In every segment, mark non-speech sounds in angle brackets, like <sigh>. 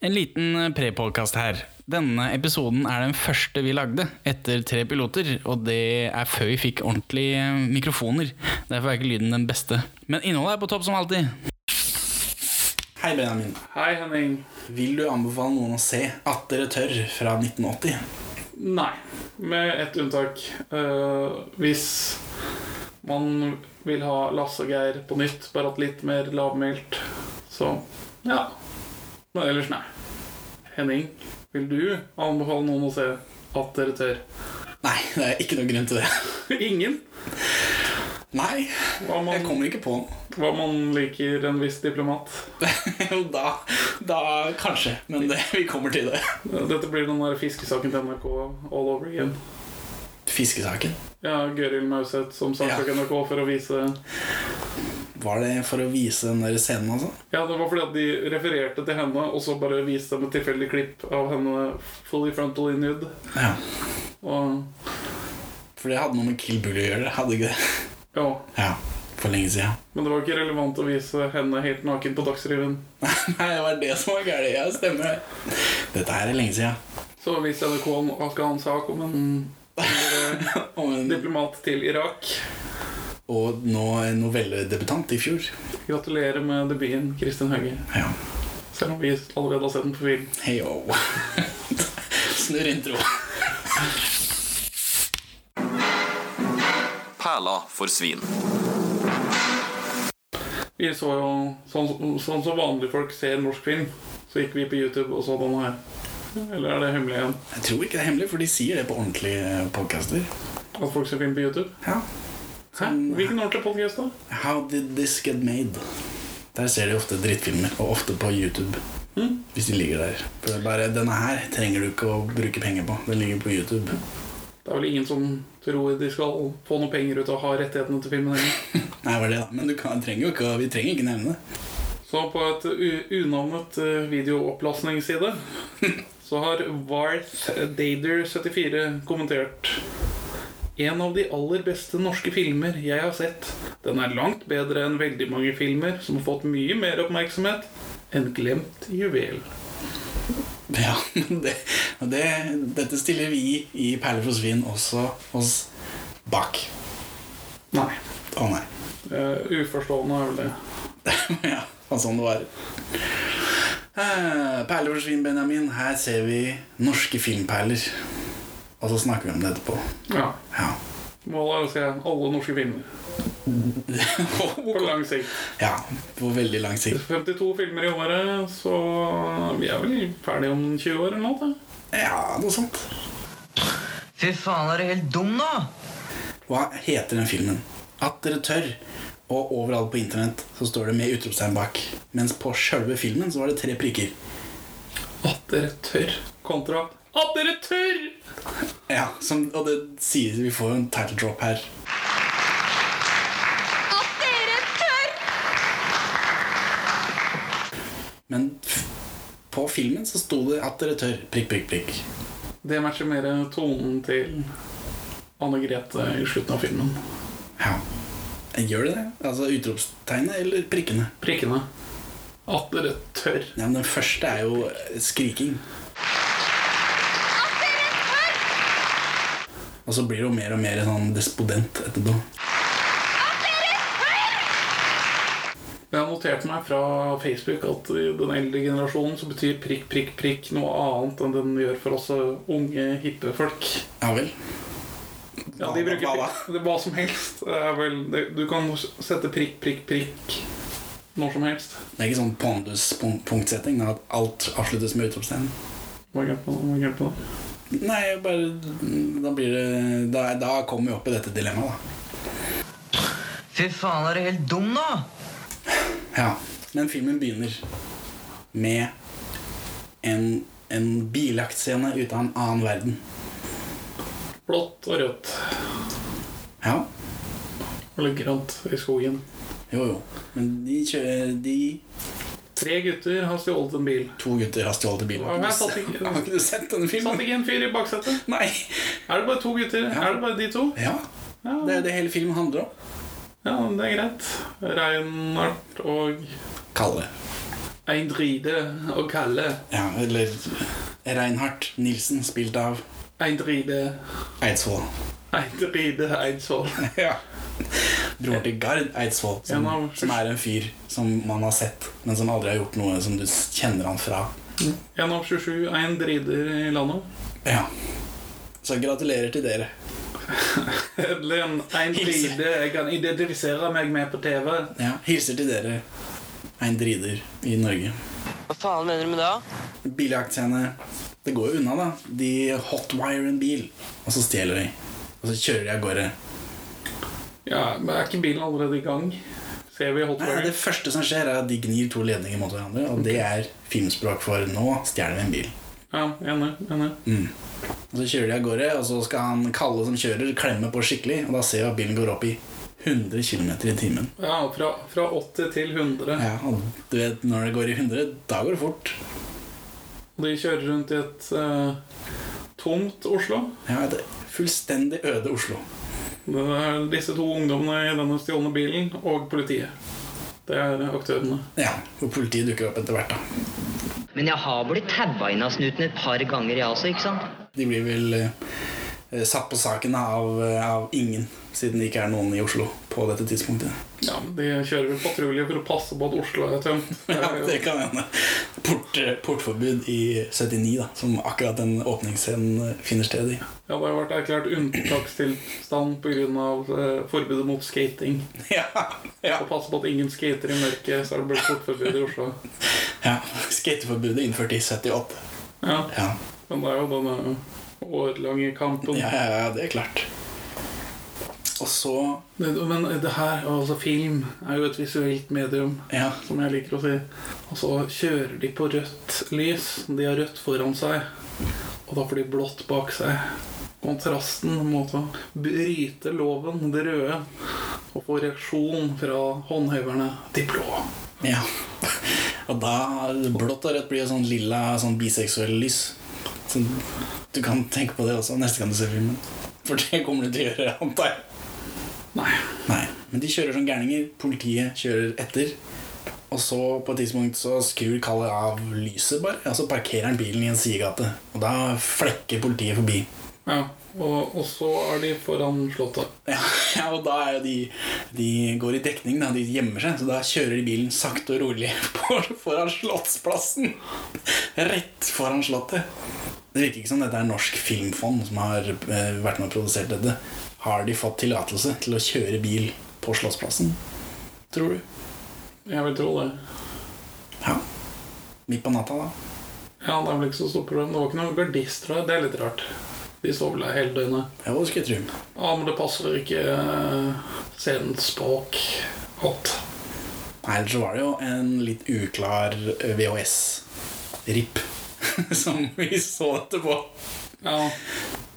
En liten prepodkast her. Denne episoden er den første vi lagde etter tre piloter, og det er før vi fikk ordentlige eh, mikrofoner. Derfor er ikke lyden den beste. Men innholdet er på topp som alltid. Hei, Benjamin. Hei, Henning. Vil du anbefale noen å se 'At dere tør' fra 1980? Nei, med ett unntak. Eh, hvis man vil ha Lasse og Geir på nytt, bare at litt mer lavmælt, så ja. Men ellers, nei. Henning, vil du anbefale noen å se At dere tør? <laughs> Nei, det er ikke noen grunn til det. Ingen. Nei, Hva jeg man, kommer ikke på noe. <laughs> hva man liker en viss diplomat. Jo, da, da kanskje. Men det, vi kommer til det. Eh, Dette blir den der fiskesaken til NRK all over again. Fiskesaken. Ja, Gøril Mauseth som saksøker NRK for å vise Var det for å vise den der scenen, altså? Ja, det var fordi at de refererte til henne, og så bare viste dem et tilfeldig klipp av henne fully frontal in nude. Ja. Og For det hadde noe med Kill Bill å gjøre, hadde ikke det? <laughs> ja. Ja, for lenge siden. <laughs> Men det var ikke relevant å vise henne helt naken på Dagsrevyen. Nei, det var det som var gærent. Ja, stemmer. Dette her er lenge siden. Så viste NRK en- skal ha en sak om en eh, Om en, diplomat til Irak. og nå en novelledebutant i fjor. Gratulerer med debuten, Kristin Høge. Ja. Selv om vi allerede har sett den på film. Hei, oh. <laughs> Snurr intro. Perla for svin. Vi så jo sånn sånn som vanlige folk ser norsk film. Så gikk vi på YouTube og så den her. Eller er det hemmelig igjen? Jeg tror ikke det er hemmelig, for de sier det på ordentlige eh, podcaster. At folk ser film på YouTube? Ja. Hæ? Hvilken ordentlig podcast da? How did this get made? Der ser de ofte drittfilmer, og ofte på YouTube. Mm. Hvis de ligger der. For det er bare, Denne her trenger du ikke å bruke penger på. Den ligger på YouTube. Det er vel ingen som tror de skal få noe penger ut av å ha rettighetene til filmen heller. Nei, var det da. Men du kan, trenger jo ikke, å- vi trenger ikke nevne det. <laughs> Så på et u- unavnet eh, videoopplastingsside <laughs> så har Varth Dader 74 kommentert En av de aller beste norske filmer jeg har sett. Den er langt bedre enn veldig mange filmer som har fått mye mer oppmerksomhet enn Glemt juvel. Ja, men det, og det, dette stiller vi i Perler for svin også oss bak. Nei. Å nei. <laughs> eh, uforstående er vel det. ja, det var sånn det var. Eh, Perler for svin, Benjamin. Her ser vi norske filmperler. Og så snakker vi om det etterpå. Ja. Ja. <laughs> Målet er å se alle norske filmer på lang sikt. ja, på veldig lang sikt. 52 filmer i året, så vi er vel ferdige om 20 år eller noe. da. Ja, noe sånt. Fy faen, er du helt dum nå? Hva heter den filmen? At dere tør. Og overalt på internett så står det med utropstegn bak. Mens på sjølve filmen så var det tre prikker. At dere tør. Kontra At dere tør! Ja, som, Og det sies vi får jo en title drop her. At dere tør! Men f- på filmen så sto det 'At dere tør'. Prikk, prikk, prikk. Det matcher mer tonen til Anne Grete i slutten av filmen. Ja. Gjør det det? Altså utropstegnet eller prikkene? Prikkene. At dere tør. Ja, men Den første er jo eh, skriking. At dere tør! Og så blir det jo mer og mer sånn despodent etterpå. At dere tør! Jeg har notert meg fra Facebook at i den eldre generasjonen så betyr prikk, prikk, prikk noe annet enn den gjør for oss eh, unge, hippe folk. Ja vel. Ja, de bruker Hva da? prikk. Det er Hva som helst. Det er vel, det, du kan sette prikk, prikk, prikk når som helst. Det er ikke sånn pondus-punktsetting. At alt avsluttes med utropstegn. Hva er galt med det? Hva er galt med det? Nei, bare mm, Da blir det Da, da kommer vi opp i dette dilemmaet, da. Fy faen, er du helt dum nå? Ja. Men filmen begynner med en, en biljaktscene ut av en annen verden. Blått og rødt Ja. eller grønt i skogen. Jo, jo. Men de kjører De Tre gutter har stjålet en bil. to gutter har stjålet bilen. Ja, men jeg satt <laughs> ikke- Har ikke du sett denne Satt filmen? ikke en fyr i baksetet? Nei. Er det bare to gutter? Er det bare de to? Ja. Ja, Det er det hele filmen handler om. ja det er greit. Reinhardt og Kalle. Ein dride å kalle. Ja, eller Reinhardt Nilsen, spilt av Ein dride, Eidsvoll. ein dride Eidsvoll. <laughs> Ja. Bror til Gard Eidsvoll, som, En av- som er en fyr som man har sett, men som aldri har gjort noe som du s- kjenner han fra. En av 27 er en drider i landet. Ja. Så gratulerer til dere. Endelig en, en Hilse. dride jeg kan identifisere meg med på TV. Ja, Hilser til dere, en drider i Norge. Hva faen mener du med det? Biljaktscene. Det går jo unna, da. De hotwirer en bil, og så stjeler de. Og så kjører de av gårde. Ja, men er ikke bilen allerede i gang? Ser vi Nei, Hotwire? det første som skjer, er at de gnir to ledninger mot hverandre, og det er filmspråk for 'nå stjeler vi en bil'. Ja, enig. enig. Og Så kjører de av gårde, og så skal han Kalle som kjører, klemme på skikkelig. Og da ser vi at bilen går opp i 100 km i timen. Ja, fra, fra 80 til 100. Ja, og du vet, når det går i 100, da går det fort. De kjører rundt i et eh, tomt Oslo. Ja, det er Fullstendig øde Oslo. Det er disse to ungdommene i denne stjålne bilen og politiet. Det er aktørene. Ja, Og politiet dukker opp etter hvert, da. Men jeg har blitt taua inn av snuten et par ganger, jeg også, ikke sant? De blir vel eh, satt på saken av, eh, av ingen, siden det ikke er noen i Oslo på dette tidspunktet. Ja, men De kjører vel patrulje for å passe på at Oslo er tømt. Det <laughs> Ja, er jo- det kan hende. Port, eh, portforbud i 79, da, som akkurat den åpningsscenen eh, finner sted i. <laughs> Ja, det har vært erklært unntakstilstand pga. Uh, forbudet mot skating. Ja, ja. Og passe på at ingen skater i mørket, så er det blitt portforbud i Oslo. ja. Skateforbudet innført i 78. Ja, Ja. Men det er jo denne årelange kampen. Ja, ja, ja, det er klart. Og så Det, men det her, altså film, er jo et visuelt medium. Ja, som jeg liker å si. Og så kjører de på rødt lys. De har rødt foran seg, og da får de blått bak seg. Kontrasten mot å bryte loven, det røde, og få reaksjon fra håndheverne, de blå. ja. <laughs> Og da blått og rødt blir jo sånn lilla sånn biseksuell lys. Så du kan tenke på det også neste gang du ser filmen. For det kommer du til å gjøre, antar jeg. Nei. Nei, men de kjører som gærninger. Politiet kjører etter. Og så på et tidspunkt så skrur Kalle av lyset, bare. Og så parkerer han bilen i en sidegate. Og da flekker politiet forbi. Ja, og, og så er de foran Slottet. Ja, <laughs> ja, og da er jo de De går i dekning, da. De gjemmer seg. Så da kjører de bilen sakte og rolig <laughs> på, foran Slottsplassen. Rett foran Slottet. Det virker ikke som dette er Norsk Filmfond som har eh, vært med og produsert dette. Har de fått tillatelse til å kjøre bil på Slottsplassen, tror du? Jeg vil tro det. Ja. Midt på natta, da. Ja, det er vel ikke så stort problem. Det var ikke noen gardister her. Det er litt rart. De står vel der hele døgnet. Ja, det skulle jeg tro. Ja, men det passer ikke eh, scenens språk godt. Nei, Ellers så var det jo en litt uklar eh, VHS-ripp <laughs> som vi så etterpå. Ja.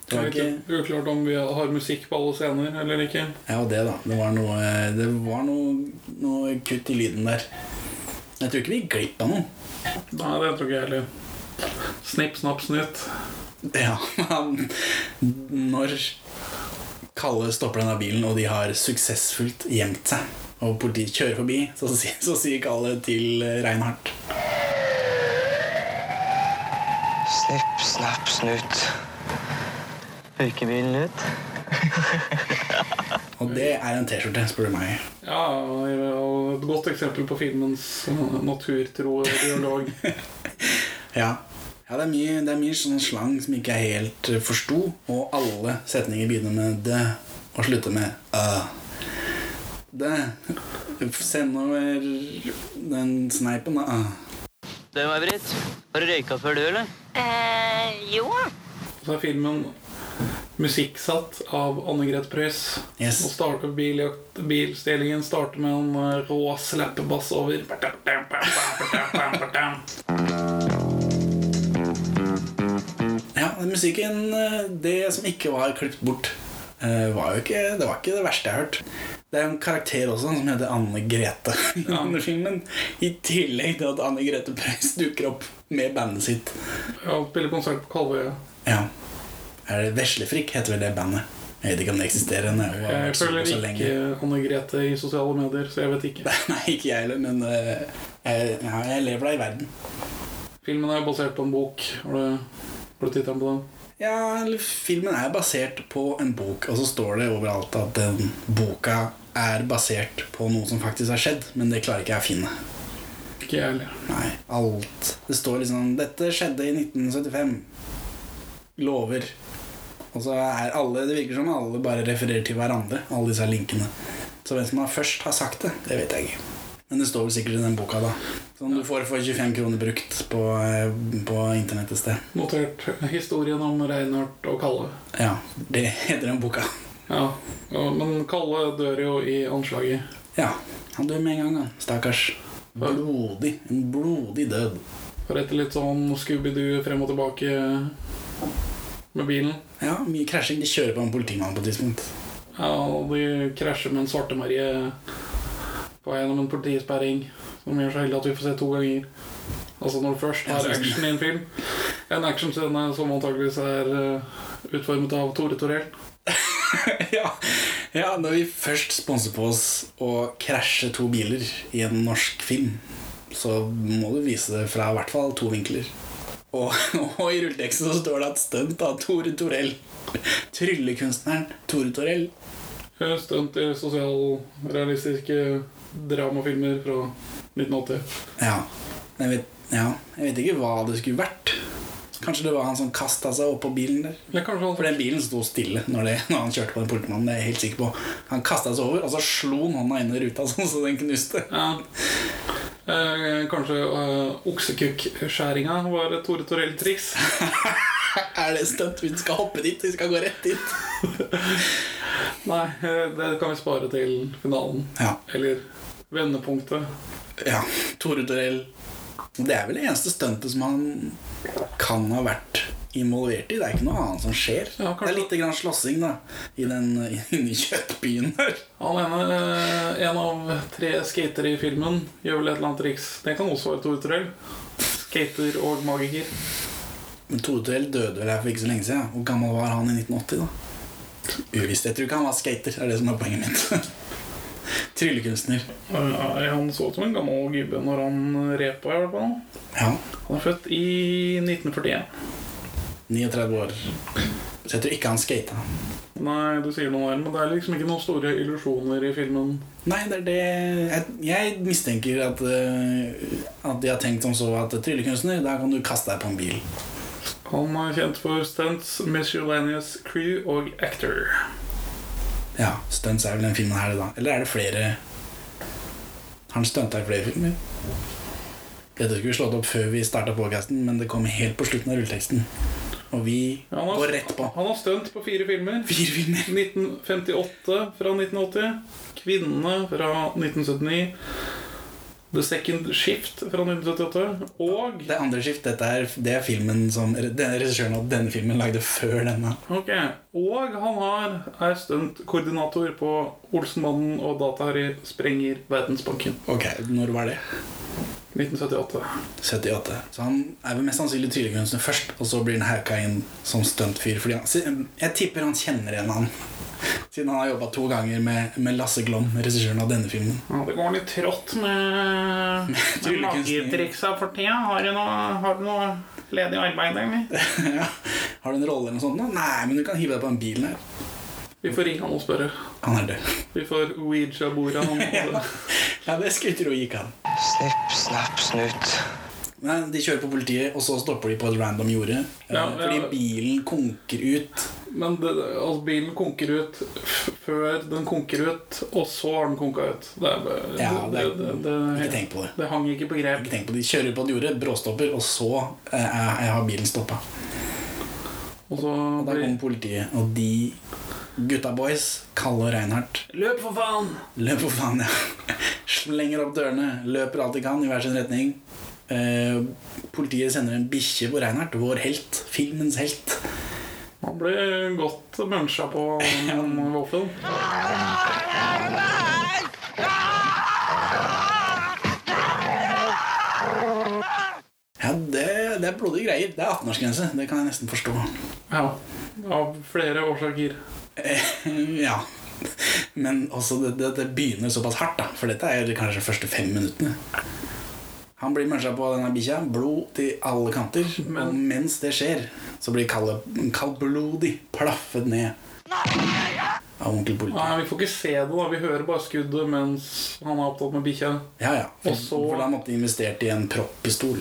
Det var Det er litt uklart om vi har musikk på alle scener eller ikke. Ja, og det da. Det var noe, det var noe, noe kutt i lyden der. Jeg tror ikke vi gikk glipp av noe. Nei, det tror ikke jeg heller. Snipp, snapp, snutt. Ja, men <laughs> når Kalle stopper denne bilen, og de har suksessfullt gjemt seg, og politiet kjører forbi, så sier, så sier Kalle til Reinhardt Snipp, snapp, snut. Ukebilen ut. Og det er en T-skjorte, spør du meg. Ja, og et godt eksempel på filmens eh, naturtro <laughs> dialog. Ja. Ja, det er mye, det er mye sånn slang som ikke jeg helt eh, forsto, og alle setninger begynner med det og slutter med uh. Det Send over den sneipen, da. Du, May-Britt, har du røyka før, du, eller? Eh, jo. Så er filmen musikksatt av Anne Grete Preus. Yes. Og starter biljakt, bilstillingen starter med en eh, rå slappebass <laughs> over. Ja, den musikken eh, Det som ikke var klippet bort, eh, var jo ikke, det var ikke det verste jeg har hørt. Det er en karakter også som heter Anne Grete <laughs> i denne filmen. I tillegg til at Anne Grete Preus dukker opp med bandet sitt. Ja, spiller konsert på Kalvøya. Ja. Er det Veslefrikk heter vel det bandet? Jeg vet ikke om det eksisterer. den er jo Jeg så- følger så <laughs> ikke lenge. Anne Grete i sosiale medier, så jeg vet ikke. Nei, ikke jeg heller, men eh, Jeg, ja, jeg lever da i verden. Filmen er jo basert på en bok. Har du, har du tittelen på den? Ja, eller filmen er basert på en bok, og så står det overalt at den boka er basert på noe som faktisk har skjedd, men det klarer ikke jeg å finne. Ikke jeg heller. Nei, alt. Det står liksom 'Dette skjedde i 1975'. Lover. Og så er alle Det virker som alle bare refererer til hverandre, alle disse linkene. Så hvem som har først har sagt det, det vet jeg ikke. Men det står vel sikkert i den boka, da. Som du får for 25 kroner brukt på, eh, på internett et sted. Notert historien om Reinhardt og Kalle. Ja, det heter den boka. Ja, ja, Men Kalle dør jo i anslaget. Ja, han dør med en gang, da. Stakkars. Blodig. En blodig død. For etter litt sånn Scooby-Doo frem og tilbake med bilen. Ja, mye krasjing. De kjører på en politimann på et tidspunkt. Ja, og de krasjer med en Svarte-Marie på vei gjennom en politisperring. Som gjør så heldig at vi får se to ganger. Altså når det først er action i en film. En actionscene som antakeligvis er eh, utformet av Tore Torell. <laughs> ja. ja, når vi først sponser på oss å krasje to biler i en norsk film, så må du vise det fra i hvert fall to vinkler. Og, <laughs> og i rulleteksten så står det at stunt av Tore Torell. Tryllekunstneren Tore Torell. Eh, Stunt i sosialrealistiske dramafilmer fra 1980. Ja. Jeg vet, ja. jeg vet ikke hva det skulle vært. Kanskje det var han som kasta seg oppå bilen der. Eller kanskje han For den bilen sto stille når, det, <laughs> når han kjørte på den politimannen. Det er jeg helt sikker på Han kasta seg over, og så slo han hånda inn i ruta <laughs> sånn så den knuste. ja. eh, Kanskje eh, oksekukk-skjæringa var et Tore Torell-triks. <laughs> Er det stunt? Vi skal hoppe dit. Vi skal gå rett dit. Nei, eh, det kan vi spare til finalen. Ja. Eller vendepunktet. ja. Tore Torell. Det er vel det eneste stuntet som han kan ha vært involvert i. Det er ikke noe annet som skjer. Ja, kanskje. det er litt grann slåssing da i den <laughs> inni kjøttbyen der. Han ene, eh, en av tre skatere i filmen, gjør vel et eller annet triks. Det kan også være Tore Torell. Skater og magiker. Men Tore Torell døde vel her for ikke så lenge siden. Hvor gammel var han i 1980, da? Uvisst. Jeg tror ikke han var skater. Det er det som er poenget mitt. <laughs> Tryllekunstner. Eh, Han så ut som en gammel gubbe når han repa. i hvert fall. Ja. Han er født i 1941. 39 år. Så jeg tror ikke han skata. Nei, du sier noe der, men det er liksom ikke noen store illusjoner i filmen. Nei, det er det Jeg, jeg mistenker at, eh, at de har tenkt som så at eh, tryllekunstner, da kan du kaste deg på en bil. Han er kjent for stunts, miscellaneous crew og actor. Ja, stunts er vel den filmen her, det da. Eller er det flere Har han stunta i flere filmer? Dette skulle vi slått opp før vi starta podkasten, men det kom helt på slutten av rulleteksten. Og vi Ja, han har- går rett på. Han har stunt på fire filmer. Fire filmer. 1958 fra 1980, Kvinnene fra 1979, The Second Shift fra 1978 og Det er andre skift. Dette er, det er filmen som denne regissøren av denne filmen lagde før denne. Ok, og han har er stuntkoordinator på Olsenmannen og Dataharry sprenger Verdensbanken. Ok, når var det? 1978. 78. Så han er vel mest sannsynlig tryllekunstner først, og så blir han hauka inn som stuntfyr. Fordi han, se- jeg tipper han kjenner igjen han. Siden han har jobba to ganger med, med Lasse Glom, regissøren av denne filmen. <laughs> Ja, det går litt trått <laughs> med, med tryllekunsten. magitriksa for tida. Har du noe, har du noe ledig arbeid, eller? ja. Har du en rolle eller noe sånt? nå? Nei, men du kan hive deg på den bilen her. Vi får ringe han og spørre. Han er død. <laughs> Vi får Ouija-bordet <laughs> han og Ja, det skulle jeg tro gikk an. Snipp, snapp, snut. Nei, De kjører på politiet, og så stopper de på et random jorde. eh, Ja, ja. Fordi bilen konker ut. Men det, altså, bilen konker ut f- før den konker ut, og så har den konka ut. Det, er, bare- Ja, det er- det, det, ikke tenk på det. Det hang ikke på grep. Ikke tenk på det. De kjører på et jorde, bråstopper, og så eh, er- er- har bilen stoppa. Og så Og der blir kommer politiet, og de gutta boys, Kalle og Reinhardt, Løp, for faen! løper for faen, ja. Slenger opp dørene, løper alt de kan i hver sin retning. Eh, politiet sender en bikkje på Reinhardt, vår helt. Filmens helt. Han ble godt muncha på <laughs> den vaffelen. Ja, det, det er blodige greier. Det er 18-årsgrense, det kan jeg nesten forstå. Ja. Av flere årsaker. Eh, ja. Men også det, det, det begynner såpass hardt, da. For dette er kanskje de første fem minuttene. Han blir mørsa på av denne bikkja. Blod til alle kanter. Og mens det skjer, så blir Kalle kaldblodig plaffet ned av onkel politi. Nei, Vi får ikke se det, da. Vi hører bare skuddet mens han er opptatt med bikkja. Ja, ja. For, Og så- for da måtte de investert i en proppistol.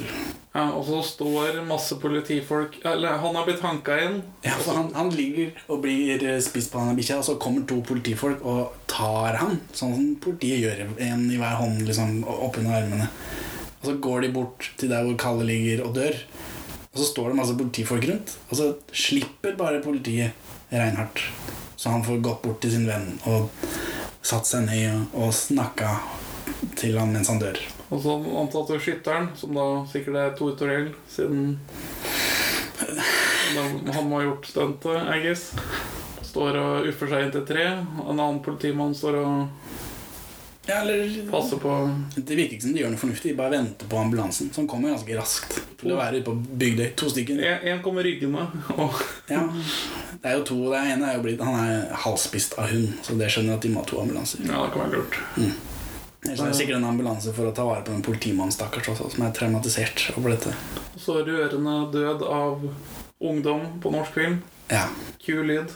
Ja, og så står masse politifolk Eller han har blitt hanka inn. Ja, for han, han ligger og blir eh, spist på denne bikkja, og så kommer to politifolk og tar han. Sånn som politiet gjør. En i hver hånd liksom, oppunder armene. Og så går de bort til der hvor Kalle ligger og dør. Og så står det masse politifolk rundt, og så slipper bare politiet Reinhardt. Så han får gått bort til sin venn og satt seg ned og, og snakka til han mens han dør. Og så antatte skytteren, som da sikkert er Tor Torell, siden da han må ha gjort stuntet, I guess. Står og uffer seg inn til et tre. En annen politimann står og Ja, eller passer på Det virker ikke som de gjør noe fornuftig. De bare venter på ambulansen, som kommer ganske raskt. Til å være ute på Bygdøy. To stykker. En en kommer ryggende, og Ja. Det er jo to. Det ene er jo blitt Han er halvspist av hund, så det skjønner jeg at de må ha to ambulanser. Ja, det kan være lurt. Ellers er det sikkert en ambulanse for å ta vare på den politimannen stakkars også, som er traumatisert over dette. Så rørende død av ungdom på norsk film. Ja. Kul lyd.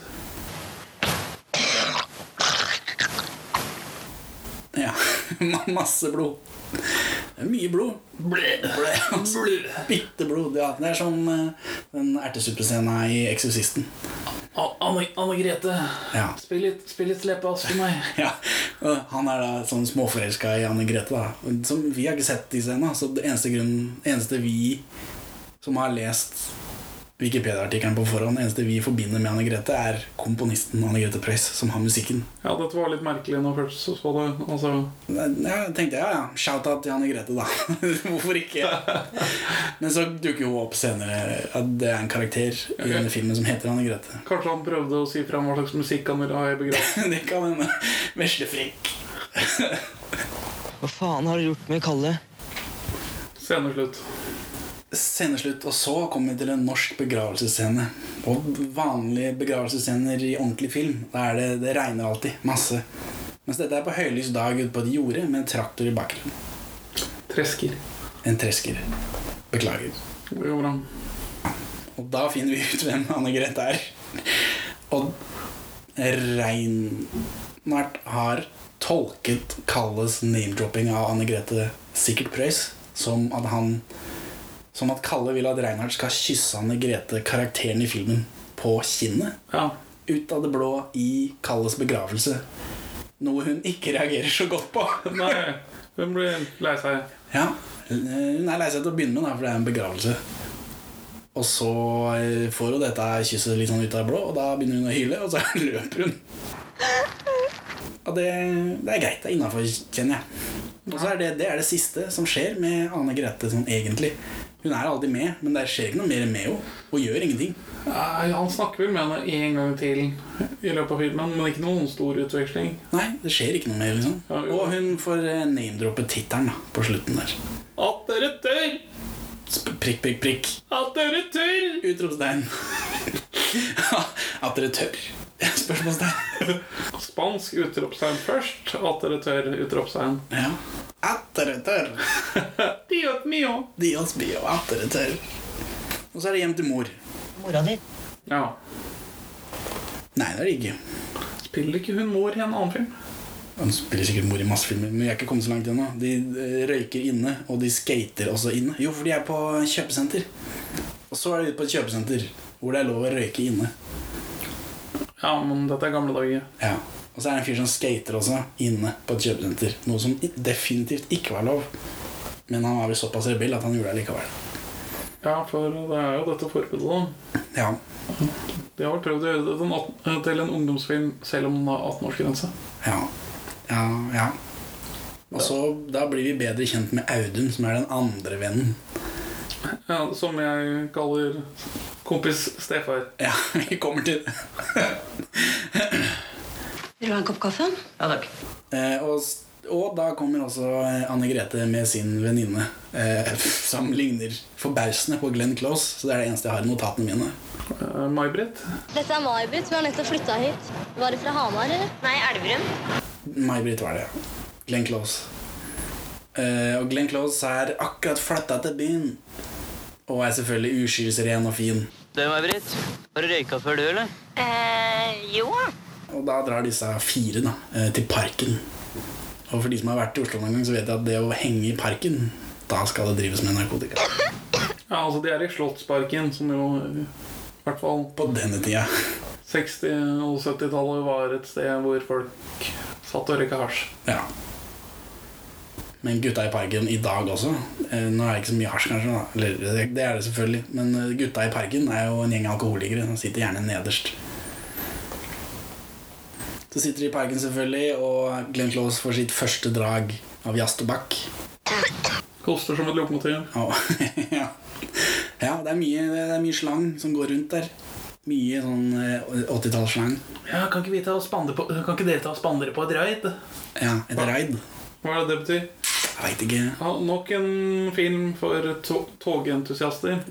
ja. <laughs> Ma- Masse blod. Det er mye blod. Blæ. Altså, Bitte blod. Ja, det er sånn eh, den ertesuppescena i 'Eksorsisten'. Anne, Grete, Ja. spill litt, spill litt Sleppeass for meg. <laughs> Ja, og Han er da sånn småforelska i Anne Grete. da Som Vi har ikke sett disse ennå. Så det eneste, grunnen, eneste vi som har lest Wikipedia-artikkelen på forhånd, eneste vi forbinder med Anne Grete, er komponisten Anne Grete Preus, som har musikken. Ja, dette var litt merkelig når jeg først så- så det. Altså, Ja, tenkte jeg, ja, ja, Shout-out til Anne Grete, da. <laughs> Hvorfor ikke? Men så dukker hun opp senere at det er en karakter i denne filmen som heter Anne Grete. <laughs> kanskje han prøvde å si fram hva slags musikk han ville ha i begravelsen. Det kan hende. Veslefrekk. Hva faen har du gjort med Kalle? Sceneslutt. sceneslutt, og så kommer vi til en norsk begravelsesscene. Og vanlige begravelsesscener i ordentlig film, da er det, det regner alltid. Masse. Mens dette er på høylys dag ute på et jorde med en traktor i bakgrunnen. Tresker. En tresker. Beklager. Det går bra. Og da finner vi ut hvem Anne Grete er. Og Reinhardt har tolket Kalles name-dropping av Anne Grete sikkert Preus som at han Som at Kalle vil at Reinhardt skal kysse Anne Grete, karakteren i filmen, på kinnet. Ja. Ut av det blå i Kalles begravelse. Noe hun ikke reagerer så godt på. Nei, hun blir lei seg. Ja, hun er lei seg til å begynne med, da, for det er en begravelse. Og så eh, får hun dette kysset litt sånn ut av det blå, og da begynner hun å hyle, og så <laughs> løper hun. Og det, det er greit. Det er innafor, kjenner jeg. Og så er det, det er det siste som skjer med Anne Grete sånn egentlig. Hun er alltid med, men det skjer ikke noe mer med henne. Hun gjør ingenting. Nei, han snakker vel med henne en gang til i løpet av filmen, men ikke noen stor utveksling. Nei, det skjer ikke noe mer, liksom. Og hun får eh, name-droppe tittelen da, på slutten der. At dere tør! Sp- Prikk, prikk, prikk. At dere tør! Utropstegn. <laughs> At dere tør. Spørsmålstegn. <laughs> Spansk utropstegn først. At dere tør, utropstegn. Ja. At dere tør. Dios mio! Dios bio, at dere tør. Og så er det hjem til mor. Mora di. Ja. Nei, det er det ikke. Spiller ikke hun mor i en annen film? Han spiller sikkert mor i masse filmer, men vi er ikke kommet så langt ennå. De eh, røyker inne, og de skater også inne. Jo, for de er på kjøpesenter. Og så er de ute på et kjøpesenter hvor det er lov å røyke inne. Ja, men dette er gamle dager. Ja. Og så er det en fyr som skater også, inne på et kjøpesenter. Noe som i- definitivt ikke var lov. Men han var vel såpass rebell at han gjorde det likevel. Ja, for det er jo dette forbudet, da. Ja. De har vel prøvd å gjøre det til en atten- til en ungdomsfilm selv om den har 18-årsgrense. Ja. Ja, ja. Og så da blir vi bedre kjent med Audun, som er den andre vennen. Ja, som jeg kaller kompis Stefar. Ja, <laughs> vi kommer til det. Vil du ha en kopp kaffe? Ja takk. <laughs> Eh, og, s- og da kommer også eh, Anne Grete med sin venninne, eh, <laughs> som ligner forbausende på Glenn Close. Så det er det eneste jeg har i notatene mine. Eh, May-Britt. Dette er May-Britt. Hun har nettopp flytta hit. Var det fra Hamar, eller? Nei, Elverum. May-Britt var det. Glenn Close. Eh, og Glenn Close har akkurat flytta til byen. Og er selvfølgelig uskyrsren og fin. Du, May-Britt, har du røyka før, du, eller? Eh, jo. Og da drar disse fire da, eh, til parken. Og for de som har vært i Oslo noen gang, så vet jeg at det å henge i parken, da skal det drives med narkotika. Ja, altså De er i Slottsparken, som jo eh, i hvert fall På denne tida. 60- og 70-tallet var et sted hvor folk satt og røyka hasj. Ja. Men gutta i parken i dag også eh, Nå er det ikke så mye hasj, kanskje. Da. Eller, det er det selvfølgelig. Men eh, gutta i parken er jo en gjeng alkoholikere som sitter gjerne nederst. Så sitter de i parken, selvfølgelig, og Glenn Close får sitt første drag av jazztobakk. Koster som et lokomotiv. Og- ja. <laughs> ja, det er, mye, det er mye slang som går rundt der. Mye sånn eh, 80-tallsslang. Ja, kan ikke, vi ta og spandere på, kan ikke dere ta og spandere på et raid? Ja, et raid. Hva er det det betyr? Jeg veit ikke. Ja, nok en film for to togentusiaster.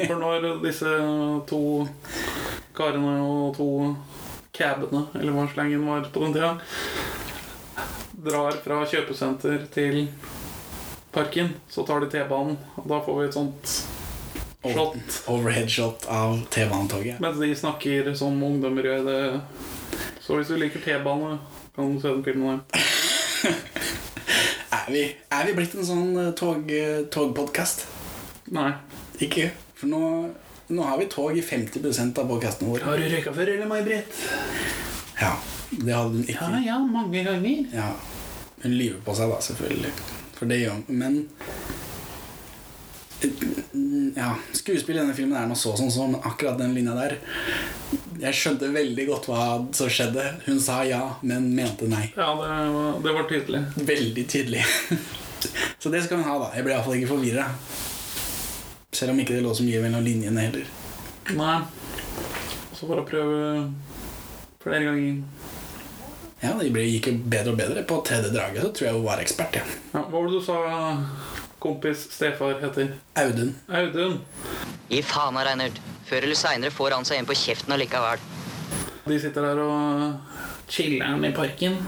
For når disse to karene og to cabene, eller hva slangen var på den tida, drar fra kjøpesenter til parken, så tar de T-banen, og da får vi et sånt shot. Overhead shot av T-banetoget. Mens de snakker som ungdommer gjør det. Så hvis du liker T-bane, kan du se den filmen der. Er vi, er vi blitt en sånn eh, tog, eh, togpodcast? Nei. Ikke? For nå, nå har vi tog i 50 av podkastene våre. Har du røyka før, eller, May-Britt? Ja, Det hadde hun Ja, ikke. ja, mange ganger. Ja, Hun lyver på seg, da, selvfølgelig. For det gjør hun. Men eh, ja, Skuespillet i denne filmen er noe så som så, men akkurat den linja der Jeg skjønte veldig godt hva som skjedde. Hun sa ja, men mente nei. Ja, det, var- det var tydelig. Veldig tydelig. <laughs> Så det skal hun ha, da. Jeg ble iallfall ikke forvirra. Selv om ikke det lå så mye mellom linjene heller. Nei. Så bare prøve flere ganger. Ja, Det ble- gikk jo bedre og bedre. På tredje draget så tror jeg hun var ekspert. Ja. Ja, hva var det du sa kompis stefar heter? Audun. <laughs> Audun. Gi faen av Reinert. Før eller seinere får han seg en på kjeften allikevel. De sitter der og chiller'n i parken.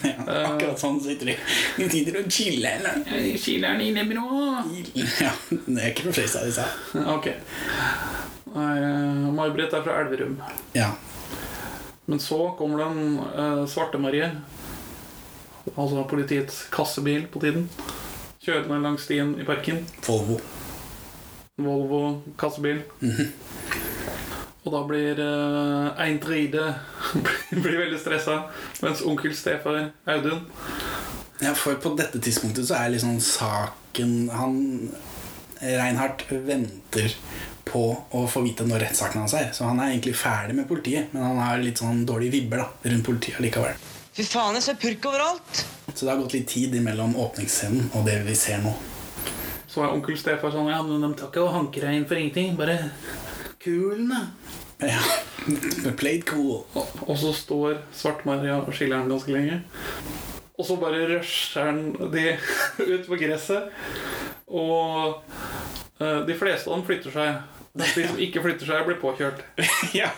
Ja, akkurat sånn sitter de. De sitter og chiller. eller? Chiller'n inne, bro! Ja, det er ikke noe face av disse. <laughs> Ok. Nei, eh, May-Britt er fra Elverum. Ja. Men så kommer det en eh, Svarte-Marie, altså politiets kassebil på tiden, kjørende langs stien i parken. Volvo. Volvo kassebil. Og da blir uh, Eindride <laughs> blir veldig stressa, mens onkel Stefar Audun Ja, for på dette tidspunktet så er liksom saken Han Reinhardt venter på å få vite når rettssaken hans er. Så han er egentlig ferdig med politiet, men han har litt sånn dårlige vibber da, rundt politiet likevel. Fy faen, jeg ser purk overalt! Så det har gått litt tid imellom åpningsscenen og det vi ser nå. Så er onkel Stefar sånn Ja, men de tar ikke og hanker deg inn for ingenting. Bare kulen, da. Ja, <laughs> Played cool. Og, og så står Svart-Maria og skiller den ganske lenge. Og så bare rusher han de <laughs> ut på gresset. Og eh, de fleste av dem flytter seg. Mens de som ikke flytter seg, blir påkjørt. ja.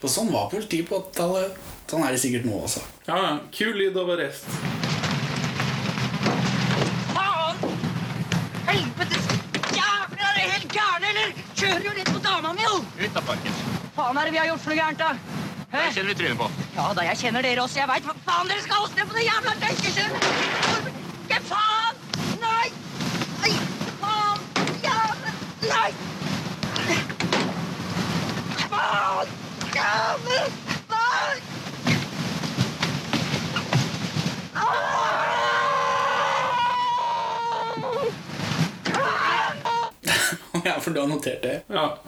For sånn var politiet på 80-tallet. Sånn er det sikkert nå også. <laughs> Ja, ja. Kul lyd av arrest. Faen! Helvetes jævler! Er dere helt gærne, eller? Kjører jo litt på dama mi, jo! Ut av parken. Faen er det vi har gjort for noe gærent, da? Hæ? Der kjenner vi trynet på. Ja da, jeg kjenner dere også. Jeg veit hva faen dere skal åsne på det jævla døykeskjøret! Ikke faen! Nei! Nei! Faen! Jævla Nei! Faen! Jævla Faen! Au! ja, for du har notert det. Ja.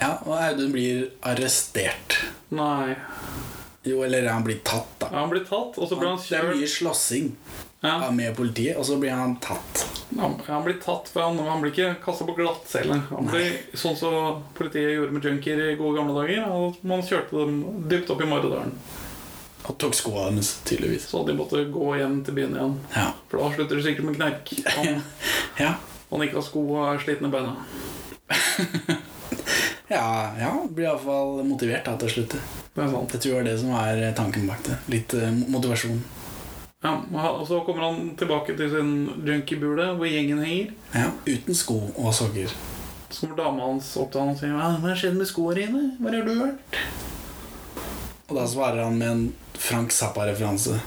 Ja, Og Audun blir arrestert. Nei. Jo, eller han blir tatt, da. Ja, han blir tatt, og så blir han Det er mye kjørt. slåssing Ja. ja, med politiet, og så blir han tatt. Han, han blir tatt, for han, han blir ikke kasta på glattcelle. Han blir sånn som politiet gjorde med junkier i gode gamle dager. Og man kjørte dem dypt opp i Maridalen. Og tok skoa hennes, tydeligvis. Så de måtte gå hjem til byen igjen. Ja. For da slutter det sikkert med knerk. <laughs> Om Ja. man ikke har sko og er sliten i beina. Ja, ja, blir iallfall motivert da, til å slutte. Det er sant. Jeg tror det var det som var tanken bak det. Litt eh, motivasjon. Ja, og så kommer han tilbake til sin junkiebule hvor gjengen henger. Ja, Uten sko og sokker. Så kommer dama hans opp til han og sier «Hva- Hva har skjedd med skoene dine? Hvor har du vært? Og da svarer han med en Frank Zappa-referanse.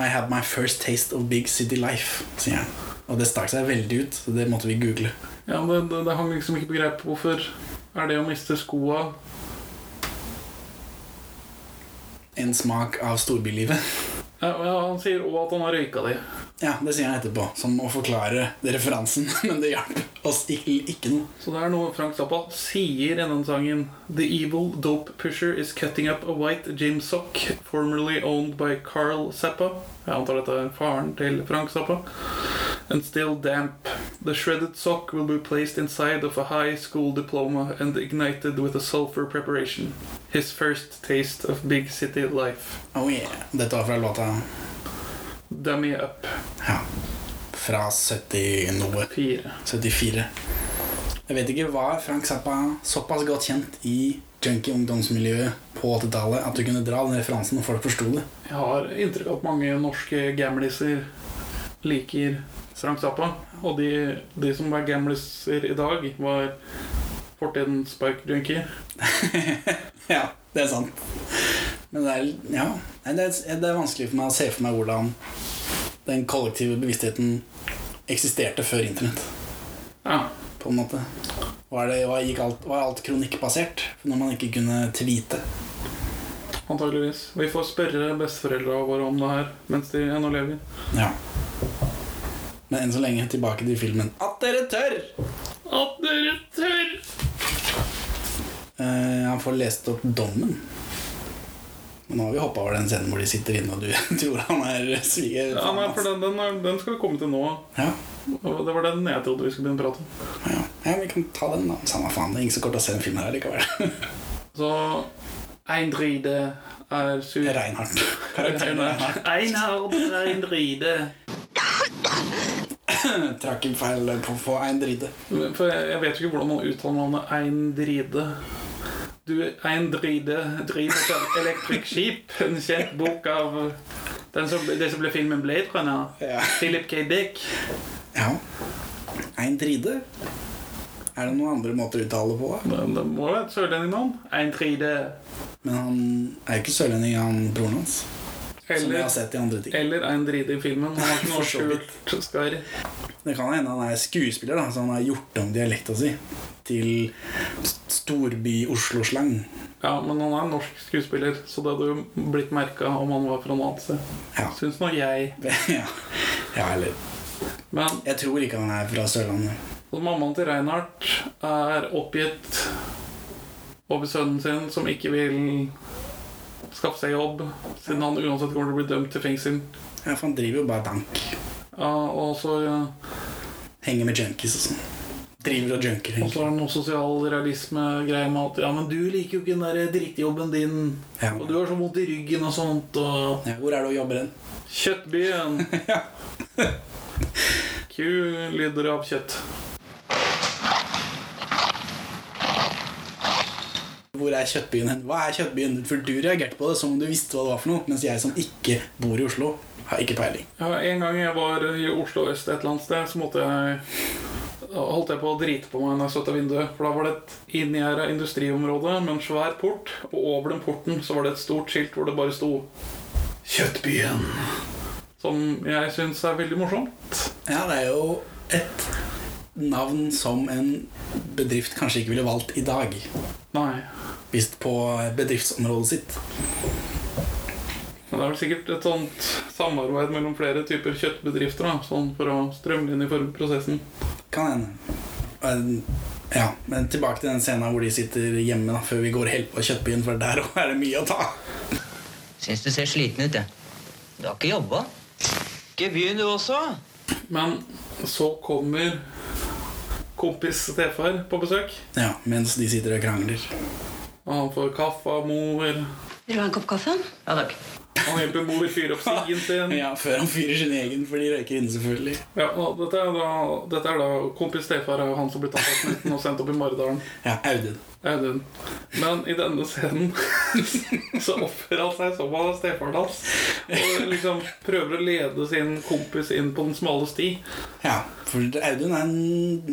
I had my first taste of big city life, sier han. Og det stakk seg veldig ut, så det måtte vi google. Ja, det, det, det hang liksom ikke på greip. Hvorfor er det å miste skoa En smak av storbylivet. ja, ja, Han sier òg at han har røyka de. Ja, det sier han etterpå, som å forklare referansen, <laughs> men det hjalp oss ikke, ikke noe. Så det er noe Frank Zappa sier i den sangen. The evil dope pusher is cutting up a white gym sock formerly owned by Carl Zappa. Jeg antar dette er faren til Frank Zappa. And still damp. The shredded sock will be placed inside of a high school diploma and ignited with a sulfur preparation. His first taste of big city life. Oh yeah. Dette var fra låta Dummy up. Ja. Fra 70 noe. Fire. 74. Jeg vet ikke, var Frank Zappa såpass godt kjent i junkie ungdomsmiljøet på 80-tallet at du kunne dra den referansen og folk forsto det? <laughs> Jeg har inntrykk av at mange norske gamliser liker Frank Zappa. Og de, de som er gamliser i dag, var fortidens sparkjunkier. Ja, det er sant. Men det er, ja, nei, det er, det er vanskelig for meg å se for meg hvordan den kollektive bevisstheten eksisterte før internett. Ja. på en måte. Var, det, var, gikk alt, var alt kronikkbasert når man ikke kunne tweete? Antageligvis. Vi får spørre besteforeldra våre om det her mens de ennå lever. Ja. Men enn så lenge tilbake til filmen. At dere tør! At dere tør! Eh, han får lest opp dommen. Men nå har vi hoppa over den scenen hvor de sitter inne, og du <laughs> tror han er sviger. Ja, nei, for den, den, er, den skal vi komme til nå. ja. Og Det var den jeg trodde vi skulle begynne å prate om. Ja, ja, vi kan ta den, da. Samme faen, det er ingen som kommer til å se den filmen her likevel. <laughs> Så Eindride er sur. Reinhardt. Karakteren Reinhardt Einhard Eindride. trakk en feil på å få en drite. For jeg, jeg vet jo ikke hvordan man uttaler navnet Eindride. Du, Eindride driver et sånt elektrisk skip. En kjent bok av den som, det som ble filmen Blade Runner. Ja. Philip K. Dick. Ja. Ein dride? Er det noen andre måter å uttale det på? da? Det, det må være et sørlendingnavn. Eindride. Men han er jo ikke sørlending, han broren hans. Som jeg har Eller, sett i andre ting. eller Eindride i filmen. Han har ikke For noe så vidt. skjult skarr. Det kan hende han er skuespiller, da, så han har gjort om dialekta si til storby-Oslo-slang. Ja, men han er en norsk skuespiller, så det hadde jo blitt merka om han var fra noe annet sted. Ja. Syns nå jeg. <laughs> ja. ja, eller Men Jeg tror ikke han er fra Sørlandet. Og Mammaen til Reinhardt er oppgitt over sønnen sin, som ikke vil skaffe seg jobb, siden han uansett kommer til å bli dømt til fengsel. Ja, for han driver jo bare bank. Ja, og så ja, Henger med junkies og sånn. Driver og junker. og så egentlig. er det noe sosial realisme-greie med at Ja, men du liker jo ikke den der drittjobben din, Ja. og du har så vondt i ryggen og sånt, og Ja, hvor er det å jobbe hen? Kjøttbyen! Ku lyder av kjøtt. Hvor er Kjøttbyen hen? Hva er Kjøttbyen? For du reagerte på det som om du visste hva det var for noe, mens jeg som ikke bor i Oslo, har ikke peiling. Ja, en gang jeg var i Oslo øst et eller annet sted, så måtte jeg holdt jeg på å drite på meg når jeg støtta vinduet. For da var det et inngjerda industriområde med en svær port, og over den porten så var det et stort skilt hvor det bare sto 'Kjøttbyen'. Som jeg syns er veldig morsomt. Ja, det er jo et navn som en bedrift kanskje ikke ville valgt i dag. Nei. Hvis på bedriftsområdet sitt. Men det er vel sikkert et sånt samarbeid mellom flere typer kjøttbedrifter, da, sånn for å strømlinjeforme prosessen. Kan hende. Men- Ja, men tilbake til den scenen hvor de sitter hjemme da, før vi går helt på Kjøttbyen, for der også er det mye å ta. Syns du ser sliten ut, jeg. Du har ikke jobba? Ikke begynn, du også. Men så kommer kompis stefar på besøk. Ja, mens de sitter og krangler. Og han får kaffe av mor. Vil du ha en kopp kaffe? Ja takk. Han hjelper mor fyre opp stigen sin. Ja, før han fyrer sin egen, for de røyker inne, selvfølgelig. Ja, og dette, er da, dette er da kompis stefar av han som ble tatt av snuten og sendt opp i Maridalen. Ja, Audun. Audun. Men i denne scenen <laughs> så oppfører han seg som han er stefaren hans. Og liksom prøver å lede sin kompis inn på den smale sti. Ja, for Audun er en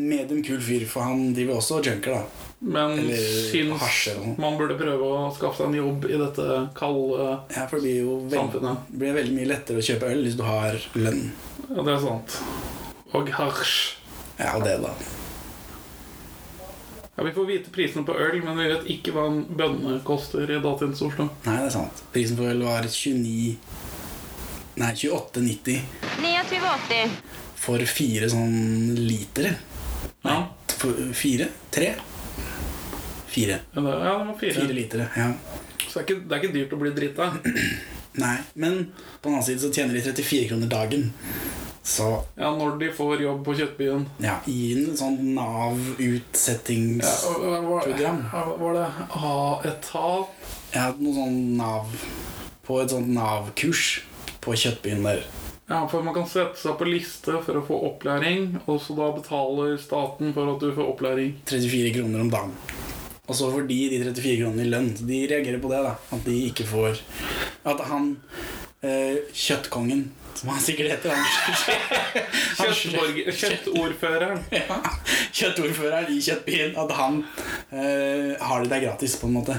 medium kul fyr, for han driver også og junker, da. Men Eller hasj eller noe. syns man burde prøve å skaffe seg en jobb i dette kalde Ja, for det blir jo veld samfunnet. blir veldig mye lettere å kjøpe øl hvis du har lønn. Ja, det er sant. Og hasj. Ja, og det, da. Ja, Vi får vite prisene på øl, men vi vet ikke hva en bønne koster i datidens Oslo. Nei, det er sant. Prisen for øl var 29 Nei, 28,90 29,80. for fire sånn liter. Ja, For fire? Tre? Fire. ja, det ja, det var fire. Fire litere, ja. Så det er, ikke, det er ikke dyrt å bli drita. Nei, men på den annen side så tjener de 34 kroner dagen. Så Ja, når de får jobb på Kjøttbyen. ja, i en sånn Nav-utsettings... Ja, Ja, og- og var, Program. ja, var det A-etat? noe sånn Nav På et sånt Nav-kurs på Kjøttbyen der. Ja, for man kan sette seg på liste for å få opplæring, og så da betaler staten for at du får opplæring. 34 kroner om dagen. Og så får de de 34 kronene i lønn. Så de reagerer på det, da. At de ikke får At han eh, Kjøttkongen, som han sikkert heter, han <laughs> Kjøttborger- Kjøttordføreren. <laughs> kjøttordføreren i Kjøttbyen, at han eh, har det der gratis, på en måte.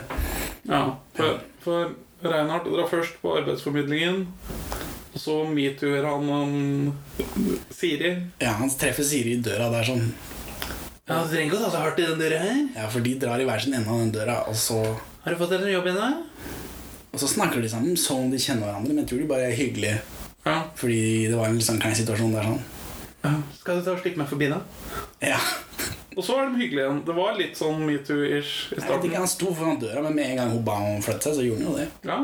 Ja, for, for Reinhardt drar først på arbeidsformidlingen, og så metooer han um, Siri. Ja, han treffer Siri i døra der sånn. Ja, Du trenger ikke å ta så hardt i den døra her. Ja, for de drar i hver sin ende av den døra, og så, Har du fått deg jobb ennå? og så snakker de sammen som om de kjenner hverandre, men jeg tror de bare er hyggelige. Ja. Fordi det var en litt sånn klein situasjon der sånn. Skal du ta og stikke meg forbi, da? Ja. Og så er de hyggelige igjen. Det var litt sånn metoo-ish i Jeg vet ikke, starten. han sto foran døra, men med en gang hun ba om å flytte seg, så gjorde han jo det. Ja.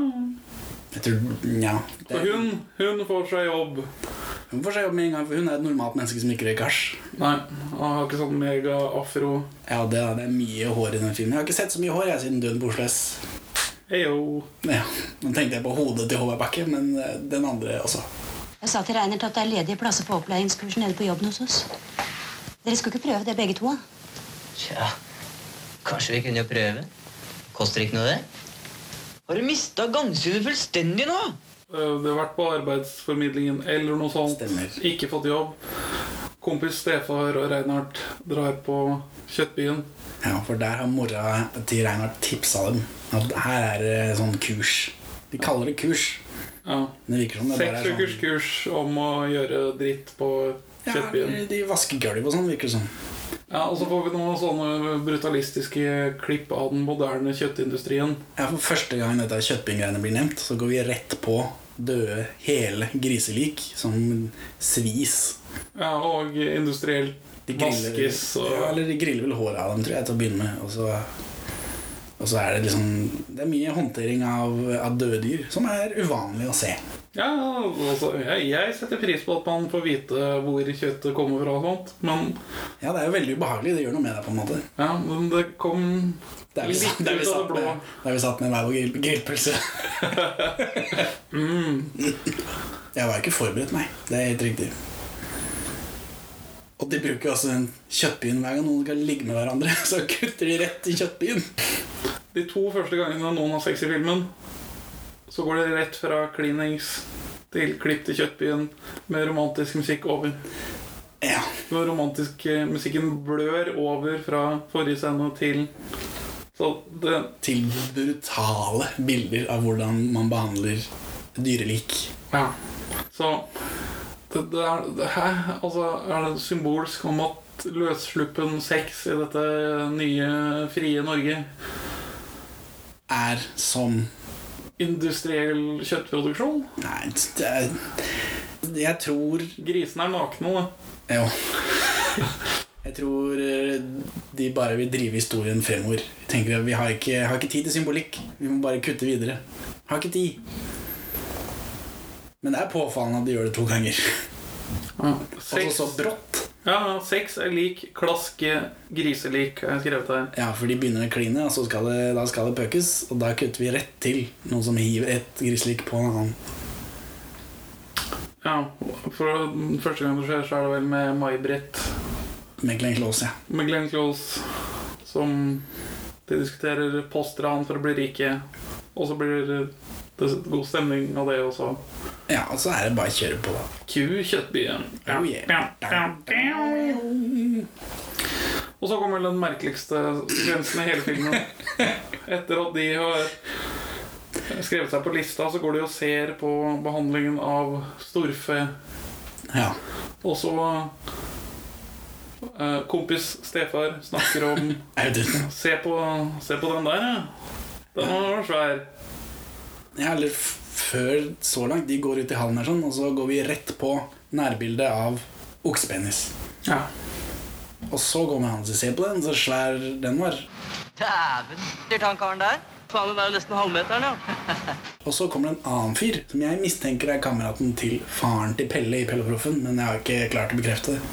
Jeg tror, ja. Så Det, hun, hun får seg jobb. hun får seg jobb med en gang, for hun er et normalt menneske som ikke røyker hasj. Nei, han har ikke sånn mega-afro. Ja, det, det er mye hår i den filmen. Jeg har ikke sett så mye hår jeg siden Døden på Oslo S. Eyo. Ja, nå tenkte jeg på hodet til Håvard Bakke, men eh, den andre også. Jeg sa til Reinert at det er ledige plasser på opplæringskurs nede på jobben hos oss. Dere skulle ikke prøve det, begge to? da? Tja, kanskje vi kunne jo prøve. Koster ikke noe, det. Har du mista gangsynet fullstendig nå? Eh, Det har vært på arbeidsformidlingen eller noe sånt. Stemmer. Ikke fått jobb. Kompis Stefar og Reinhardt drar på Kjøttbyen. Ja, for der har mora til Reinhardt tipsa dem at her er det sånn kurs. De kaller det kurs. Ja. Men det virker som det bare Seks er ukers sånn kurs om å gjøre dritt på Kjøttbyen. ja, de vasker gulv og sånn, virker det som. Ja, Og så får vi noen sånne brutalistiske klipp av den moderne kjøttindustrien. Ja, for første gang dette kjøttbinggreiene blir nevnt, så går vi rett på døde, hele griselik som svis. Ja, Og industrielt vaskes og ja, eller de griller vel håret av dem, tror jeg, til å begynne med. Og så, og så er det liksom Det er mye håndtering av, av døde dyr som er uvanlig å se. Ja, altså, jeg, jeg setter pris på at man får vite hvor kjøttet kommer fra og sånt, men Ja, det er jo veldig ubehagelig. Det gjør noe med deg, på en måte. ja, men det kom Der vi, satt, litt der, vi ut av satt det blå. med, der vi satt med hver vår grill- <laughs> grillpølse. Mm. Jeg var ikke forberedt, nei. Det er helt riktig. Og de bruker jo også den kjøttbyen hver gang noen skal ligge med hverandre. <laughs> Så kutter de rett i kjøttbyen. De to første gangene noen har sex i filmen, så går det rett fra klinings til klipp til Kjøttbyen med romantisk musikk over. Ja, Den romantiske musikken blør over fra forrige scene til Så det Til brutale bilder av hvordan man behandler dyrelik. Ja. Så det, det er det, Hæ? Altså, er det symbolsk om at løssluppen sex i dette nye, frie Norge Er som Industriell kjøttproduksjon? Nei, det er, jeg tror Grisene er nakne, da. Jo. <laughs> Jeg tror eh, de bare vil drive historien fremover. Jeg tenker at Vi har ikke, har ikke tid til symbolikk. Vi må bare kutte videre. Har ikke tid. Men det er påfallende at de gjør det to ganger. <laughs> Ja. Og Altså så Sex, så brått. Ja, sex er lik klaske griselik, har jeg skrevet her. Ja, for de begynner å kline, og så skal det, da skal det pøkes. Og da kutter vi rett til noen som hiver et griselik på en annen. Ja, for første gang det skjer, så er det vel med May-Britt Med Glenn Close, ja. med Glenn Close som de diskuterer postran for å bli rike, og så blir det god stemning av det også. ja. Og så er det bare å kjøre på, da. Ku kjøttbyen. Oh, yeah. Og så kommer den merkeligste sekvensen i hele filmen. Etter at de har skrevet seg på lista, så går de og ser på behandlingen av storfe. Ja. Og så eh, Kompis stefar snakker om Audun. Se på, se på den der, ja. Den var svær. Ja, eller f- før så langt. De går ut i hallen her sånn, og så går vi rett på nærbildet av oksepenis. Ja. Og så kommer han til å se på den, så svær den var. Dæven! Dyrt han karen der? Faen, den er jo nesten halvmeteren, ja. Og så kommer det en annen fyr, som jeg mistenker er kameraten til faren til Pelle i Pelleproffen, men jeg har ikke klart å bekrefte det.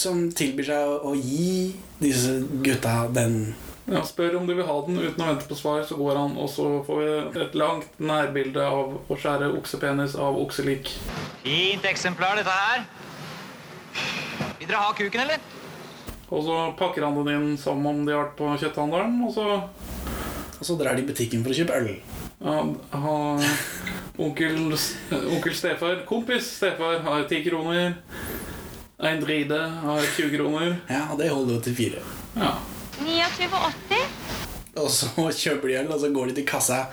Som tilbyr seg å, å gi disse gutta den ja. Spør om de vil ha den uten å vente på svar, så går han, og så får vi et langt nærbilde av å skjære oksepenis av okselik. Fint eksemplar, dette her. Vil dere ha kuken, eller? Og så pakker han den inn som om de har vært på kjøtthandelen, og så Og så drar de i butikken for å kjøpe øl. ja, har onkel, onkel stefar, kompis stefar, har ti kroner. Ein dride har 20 kroner. Ja, og det holder jo til fire. Ja. 29,80. Og så <laughs> kjøper de øl, og så går de til kassa.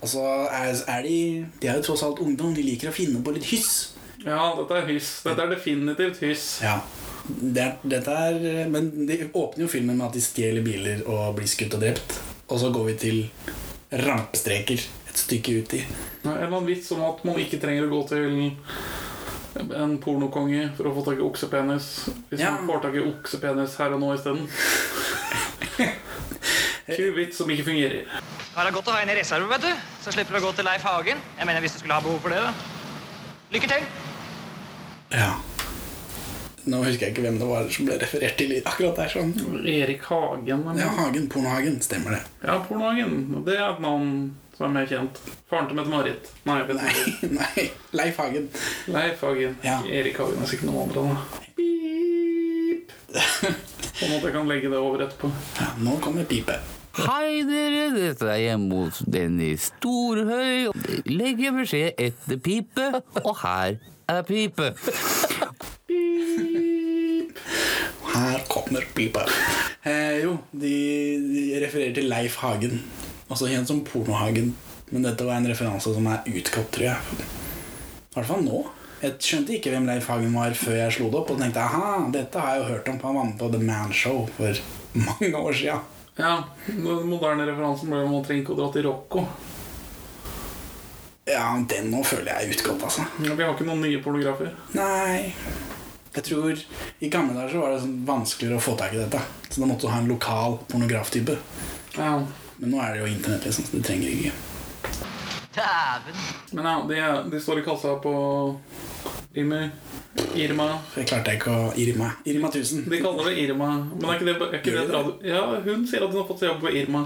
Og så er, er de De er jo tross alt ungdom, de liker å finne på litt hyss. ja, dette er hyss. Dette er definitivt hyss. Ja. Det, er- dette er Men de åpner jo filmen med at de stjeler biler og blir skutt og drept. Og så går vi til rampestreker et stykke uti. En eller annen vits om at man ikke trenger å gå til en pornokonge for å få tak i oksepenis. Hvis Ja. man får tak i oksepenis her og nå isteden. <laughs> Kul vits som ikke fungerer. Her er godt å ha en i reserve, vet du. Så slipper du å gå til Leif Hagen. Jeg mener, hvis du skulle ha behov for det, da. Lykke til. Ja. Nå husker jeg ikke hvem det var som ble referert til akkurat der. sånn Erik Hagen. eller? Ja, Hagen. Pornohagen. Stemmer det. ja, Pornohagen. Det er et navn som er mer kjent. Faren til Mette-Marit. Nei, jeg vet Nei, <laughs> ikke. nei. Leif Hagen. Leif Hagen. Ja. Ikke Erik Hagen er sikkert noen andre. da. <laughs> Beep. Sånn at jeg kan legge det over etterpå. Ja, nå kommer pipe. Hei dere, dette er hjemme hos Dennis Storhøy. Legg en beskjed etter pipe, og her er pipe. Her kommer pipa. Eh, jo, de, de refererer til Leif Hagen. Altså kjent som Pornohagen. Men dette var en referanse som er utgått, tror jeg. I hvert fall nå. Jeg skjønte ikke hvem Leif Hagen var før jeg slo det opp. Og tenkte aha, dette har jeg jo hørt om, for han var med på The Man Show for mange år sia. Ja, Den moderne referansen ble jo Man trenger ikke å dra til Rocco. Ja, den nå føler jeg er utgått, altså. Ja, Vi har ikke noen nye pornografer. Nei Jeg tror I gamle dager så var det sånn vanskeligere å få tak i dette. Så da måtte du ha en lokal pornograftype. Ja. Men nå er det jo internett, liksom, så du trenger ikke. Dæven. Men ja, de, er- de står i kassa på Irma. Irma. Jeg klarte ikke å Irma. Irma 1000. De kaller det Irma. Men er ikke det, er ikke det et radio... Ja, hun sier at hun har fått seg jobb på Irma.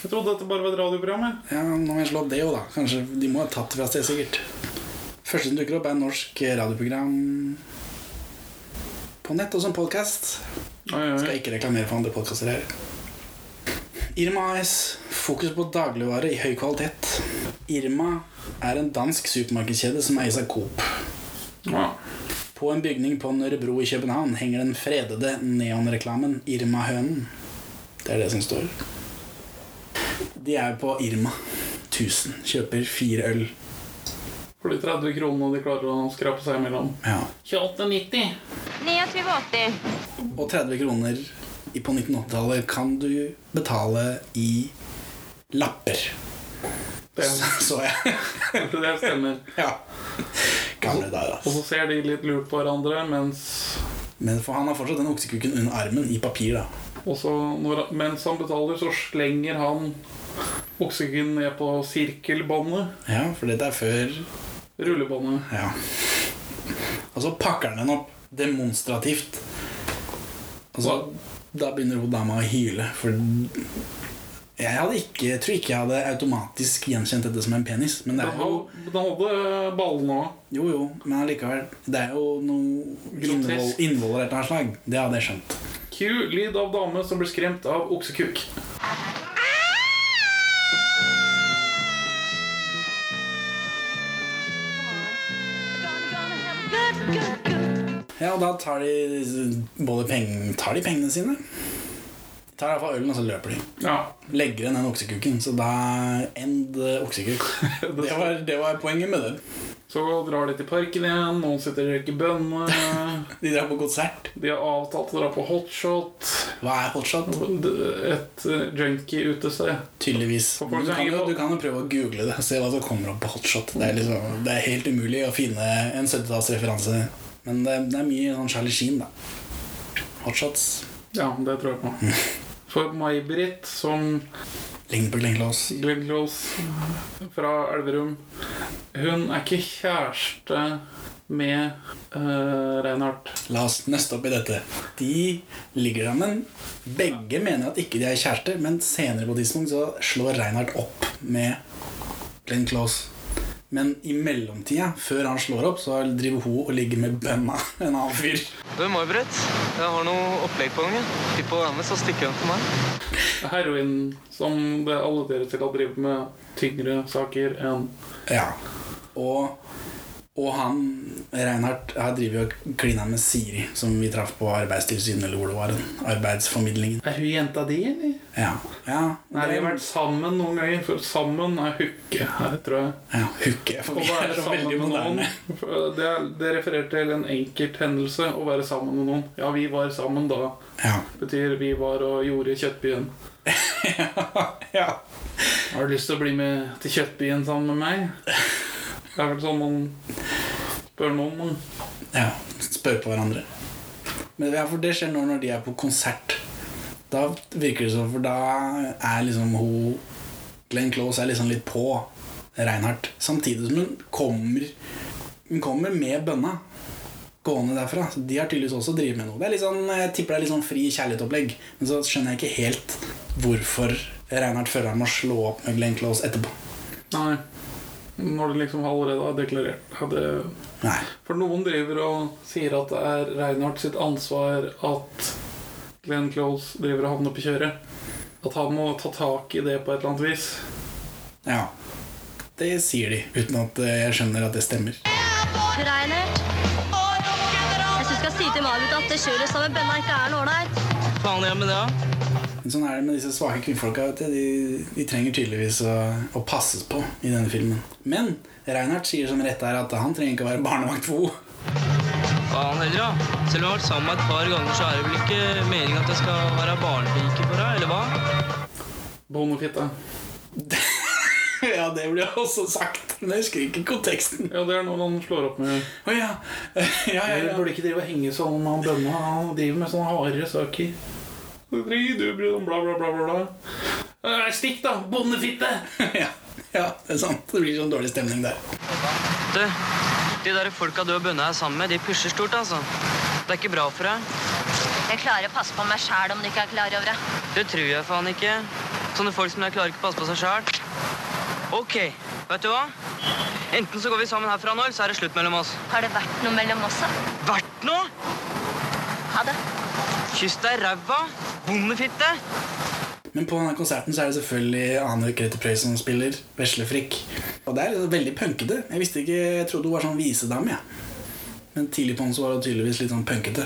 Jeg trodde dette bare var et radioprogram. jeg. Ja, nå må jeg slå opp det jo, da. Kanskje De må ha tatt det fra et sted, sikkert. Første som dukker opp, er norsk radioprogram på nett og som podkast. Oi, oi. Skal ikke reklamere for andre podkaster her. Irma AS. Fokus på dagligvare i høy kvalitet. Irma er en dansk supermarkedskjede som eies av Coop. Ja. På en bygning på Nørrebro i København henger den fredede neonreklamen Irma-hønen. Det er det som står. De er på Irma 1000. Kjøper fire øl. For de 30 kronene de klarer å skrape seg imellom. Ja. 28,90. 29,80. Og 30 kroner i- på 1980-tallet kan du betale i lapper. Det, Så jeg. det stemmer. Ja. Gamle dager, Og så altså. ser de litt lurt på hverandre, mens Men for han har fortsatt den oksekuken under armen i papir, da. Og så når, mens han betaler, så slenger han oksygen ned på sirkelbåndet. Ja, for dette er før Rullebåndet. Ja. Og Og så pakker han den opp demonstrativt. Og så da begynner hun dama å hyle, for jeg hadde ikke, jeg tror ikke jeg hadde automatisk gjenkjent dette som en penis. Men det Den er jo hold- den holder ballen òg. Jo, jo, men allikevel. Det er jo noe innvoll, Grotesk. innvoll av et eller annet slag. Det hadde jeg skjønt. Q. Lyd av dame som blir skremt av oksekuk. Ja, og da tar de både peng, tar de pengene sine. De Tar iallfall ølen, og så løper de. Ja. Legger igjen den oksekuken. Så da end eh, oksekuk. Det var, det var poenget med det. Så drar de til parken igjen, noen sitter og røyker <laughs> bønner. De drar på konsert. De har avtalt å dra på hotshot. Hva er hotshot? Et eh, junkie-utested. Tydeligvis. Du kan, jo, du kan jo prøve å google det og se hva som kommer opp på hotshot. Det er, liksom, det er helt umulig å finne en 70-tallsreferanse. Men det, det er mye sånn Charlie Sheen, da. Hotshots. Ja, det tror jeg <laughs> på. For May-Britt, som Ligner på Glenn Close. Glenn Close fra Elverum Hun er ikke kjæreste med uh, Reinhardt. La oss nøste opp i dette. De ligger sammen. Begge mener at ikke de er kjærester, men senere på et tidspunkt så slår Reinhardt opp med Glenn Close. Men i mellomtida, før han slår opp, så driver hun og ligger med bønna en annen fyr. Du, May-Britt, jeg har noe opplegg på gang. jeg. Tipp og ramme, så stikker han til meg. Heroin, som det alle dere til har drevet med tyngre saker enn Ja. Og, og han, Reinhardt, har drevet og klina med Siri, som vi traff på Arbeidstilsynet, eller hvor det var. den Arbeidsformidlingen. Er hun jenta di, eller? Ja. ja. Nei, vi har vært sammen noen ganger, for sammen er hooke her, tror jeg. ja, hooke. For <laughs> Å vi være er så sammen veldig med noen moderne. for Det, er- det refererer til en enkelt hendelse, å være sammen med noen. Ja, vi var sammen da. Ja. Betyr vi var og gjorde Kjøttbyen. ja. <laughs> Har du lyst til å bli med til Kjøttbyen sammen med meg? Det er vel sånn man spør noen. man. Ja, spør på hverandre. Men ja, for det skjer nå når de er på konsert. Da virker det sånn, for da er liksom hun Glenn Close er liksom litt på Reinhardt. Samtidig som hun kommer Hun kommer med bønna gående derfra. Så de har tydeligvis også drevet med noe. Det er litt sånn, Jeg tipper det er litt sånn fri kjærlighetsopplegg. Men så skjønner jeg ikke helt hvorfor Reinhardt føler han må slå opp med Glenn Close etterpå. Nei. Når det liksom allerede har deklarert. Hadde Nei. For noen driver og sier at det er Reinhardt sitt ansvar at Glenn Close driver og havner på kjøret. At han må ta tak i det på et eller annet vis. Ja. Det sier de, uten at eh, jeg skjønner at det stemmer. Reinert, jeg syns du skal si til May-Britt at det kjøret sammen med Benna ikke er noe ålreit. Faen gjør med det, da? Men sånn er det med disse svake kvinnfolka. vet du. De, de trenger tydeligvis å, å passes på i denne filmen. Men Reinhardt sier som rett er at han trenger ikke å være barnevakt for henne. <laughs> Faen heller, da. Selv om jeg har vært sammen med et par ganger, så er det vel ikke meningen at jeg skal være barnepike for deg, eller hva? Bonefitte. ja, det ble også sagt, men jeg husker ikke konteksten. Ja, det er noen han slår opp med. Å ja. <laughs> ja, ja, Jeg ja. burde ikke drive og henge sånn med han bønna. Han driver med sånne harde saker. Du trenger du bry deg om bla, bla, bla, bla, bla. Eh, Stikk, da! Bondefitte! <laughs> ja. Ja, det er sant. Det blir sånn dårlig stemning der. Du, de der folka du og Bønne er sammen med, de pusher stort, altså. Det er ikke bra for deg. Jeg klarer å passe på meg sjæl om du ikke er klar over det. Det tror jeg faen ikke. Sånne folk som deg klarer ikke å passe på seg sjæl. Ok, vet du hva? Enten så går vi sammen herfra nå, eller så er det slutt mellom oss. Har det vært noe mellom oss? da? Vært nå? Ha det. Kyss deg ræva! Bondefitte! Men på denne konserten så er det selvfølgelig Ane Grete Preus som spiller veslefrikk. Og det er liksom veldig punkete. Jeg visste ikke, jeg trodde hun var sånn visedame. jeg. Men tidlig på henne så var hun tydeligvis litt sånn punkete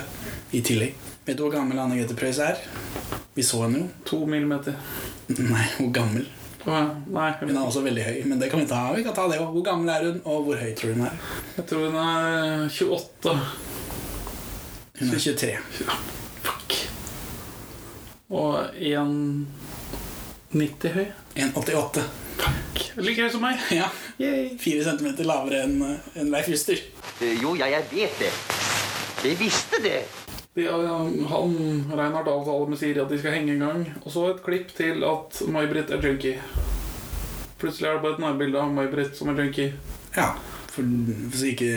i tillegg. Vet du hvor gammel Ane Grete Preus er? Vi så henne jo. <laughs> To millimeter. Nei, hvor gammel? Å, ja. Nei, Hun jeg vet er også veldig høy, men det kan vi ta. Vi kan ta det også. Hvor gammel er hun, og hvor høy tror du hun er? ikke. jeg tror hun er 28. Hun er 23. Fuck. Og 1,90 høy. 1,88. Like høy som meg. <laughs> Ja, Yay. 4 centimeter lavere enn eh, enn Leif Juster. Eh, Jo, ja, jeg vet det. Jeg visste det. De, eh, han Reinhard avtaler med Siri at de skal henge en gang. Og så et klipp til at May-Britt er junkie. Plutselig er det bare et nærbilde av May-Britt som er junkie. Ja, for, for så ikke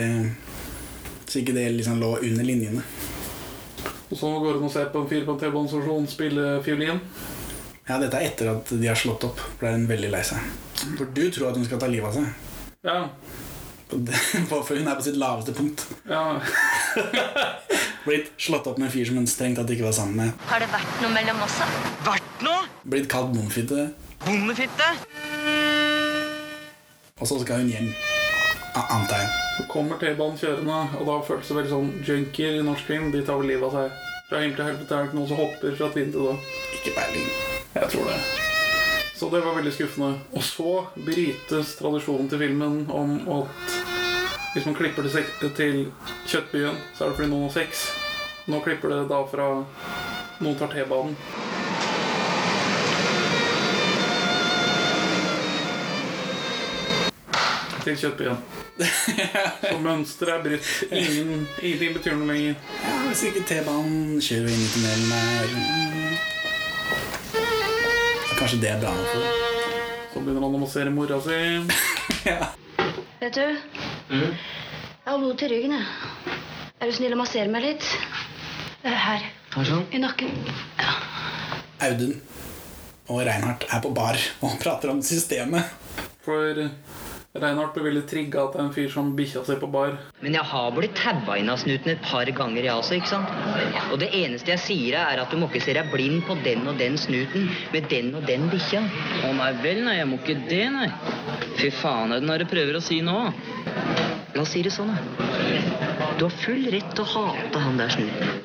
Så ikke det liksom lå under linjene. Og så går det an å se på en fyr på en T-banestasjon spille fiolin. Ja, Dette er etter at de har slått opp. For da er hun veldig lei seg. For du tror at hun skal ta livet av seg. Ja. På det- <laughs> på- For hun er på sitt laveste punkt. ja. Blitt slått opp med en fyr som hun strengt tatt ikke var sammen med. Har det vært noe mellom oss? da? Vært noe? Blitt kalt bomfitte. Bondefitte? Og så skal hun hjem. A- Antar jeg. Så kommer T-banen kjørende, og da føles det veldig sånn junkier i norsk film. De tar vel livet av seg. Fra himmel til helvete er det ikke noen som hopper fra tvinn til dag. Ikke peiling. Jeg tror det. Så det var veldig skuffende. Og så brytes tradisjonen til filmen om at hvis man klipper til, sek- til Kjøttbyen, så er det fordi noen har sex. Nå klipper det da fra noen tar T-banen. Til <laughs> Kjøttbyen. Så mønsteret er brutt. Ingen, ingenting betyr noe lenger. Ja, Hvis ikke T-banen kjører inn i tunnelen her Så Kanskje det er bra nok for henne. Så begynner han å massere mora si. Vet du? Jeg har vondt i ryggen, jeg. Er du snill å massere meg litt? Eh, Her. I nakken. Ja. Audun og Reinhardt er på bar og prater om systemet. For eh, Reinhardt ble veldig trigga at det er en fyr som bikkja si på bar. Men jeg har blitt taua inn av snuten et par ganger, jeg også. ikke sant? Og det eneste jeg sier, deg er at du må ikke se deg blind på den og den snuten med den og den bikkja. Å nei vel, nei, jeg må ikke det, nei. Fy faen, er det når du prøver å si nå? La oss si det sånn, da. Du har full rett til å hate han der snuten.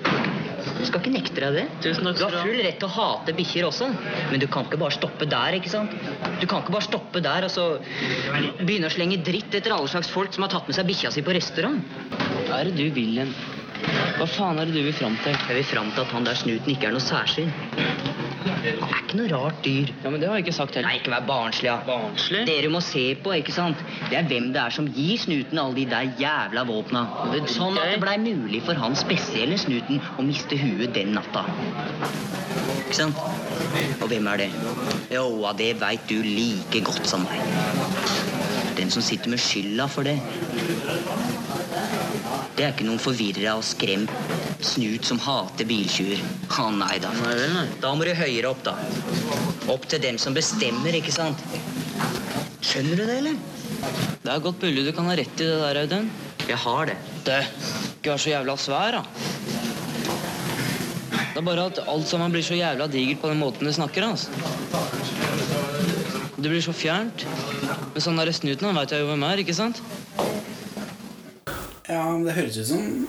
Du skal ikke nekte deg det. Tusen takk Du skal har du ha. full rett til å hate bikkjer også, men du kan ikke bare stoppe der, ikke sant? Du kan ikke bare stoppe der og så begynne å slenge dritt etter alle slags folk som har tatt med seg bikkja si på restaurant. Hva er det du vil hen? Hva faen er det du vil fram til? Jeg vil fram til at han der snuten ikke er noe særsyn. Han er ikke noe rart dyr. Ja, men det har jeg ikke sagt Nei, heller. ikke vær barnslig, ja. Barnslig? Dere må se på, ikke sant? Det er hvem det er som gir snuten alle de der jævla våpna. Det driter Sånn at jeg i. det blei mulig for han spesielle snuten å miste huet den natta. Ikke sant? Og hvem er det? Jo, ja, det veit du like godt som meg. Den som sitter med skylda for det. Det er ikke noen forvirra og skremt snut som hater biltjuver. Ha, nei da. Nei vel, nei. Da må du høyere opp, da. Opp til dem som bestemmer, ikke sant? Skjønner du det, eller? Det er godt mulig du kan ha rett i det der, Audun. Jeg har det. Det ikke vær så jævla svær, da. Det er bare at alt sammen blir så jævla digert på den måten du snakker, altså. Det blir så fjernt. Men sånn derre snuten, han veit jeg jo hvem er, ikke sant? Ja, men det høres ut som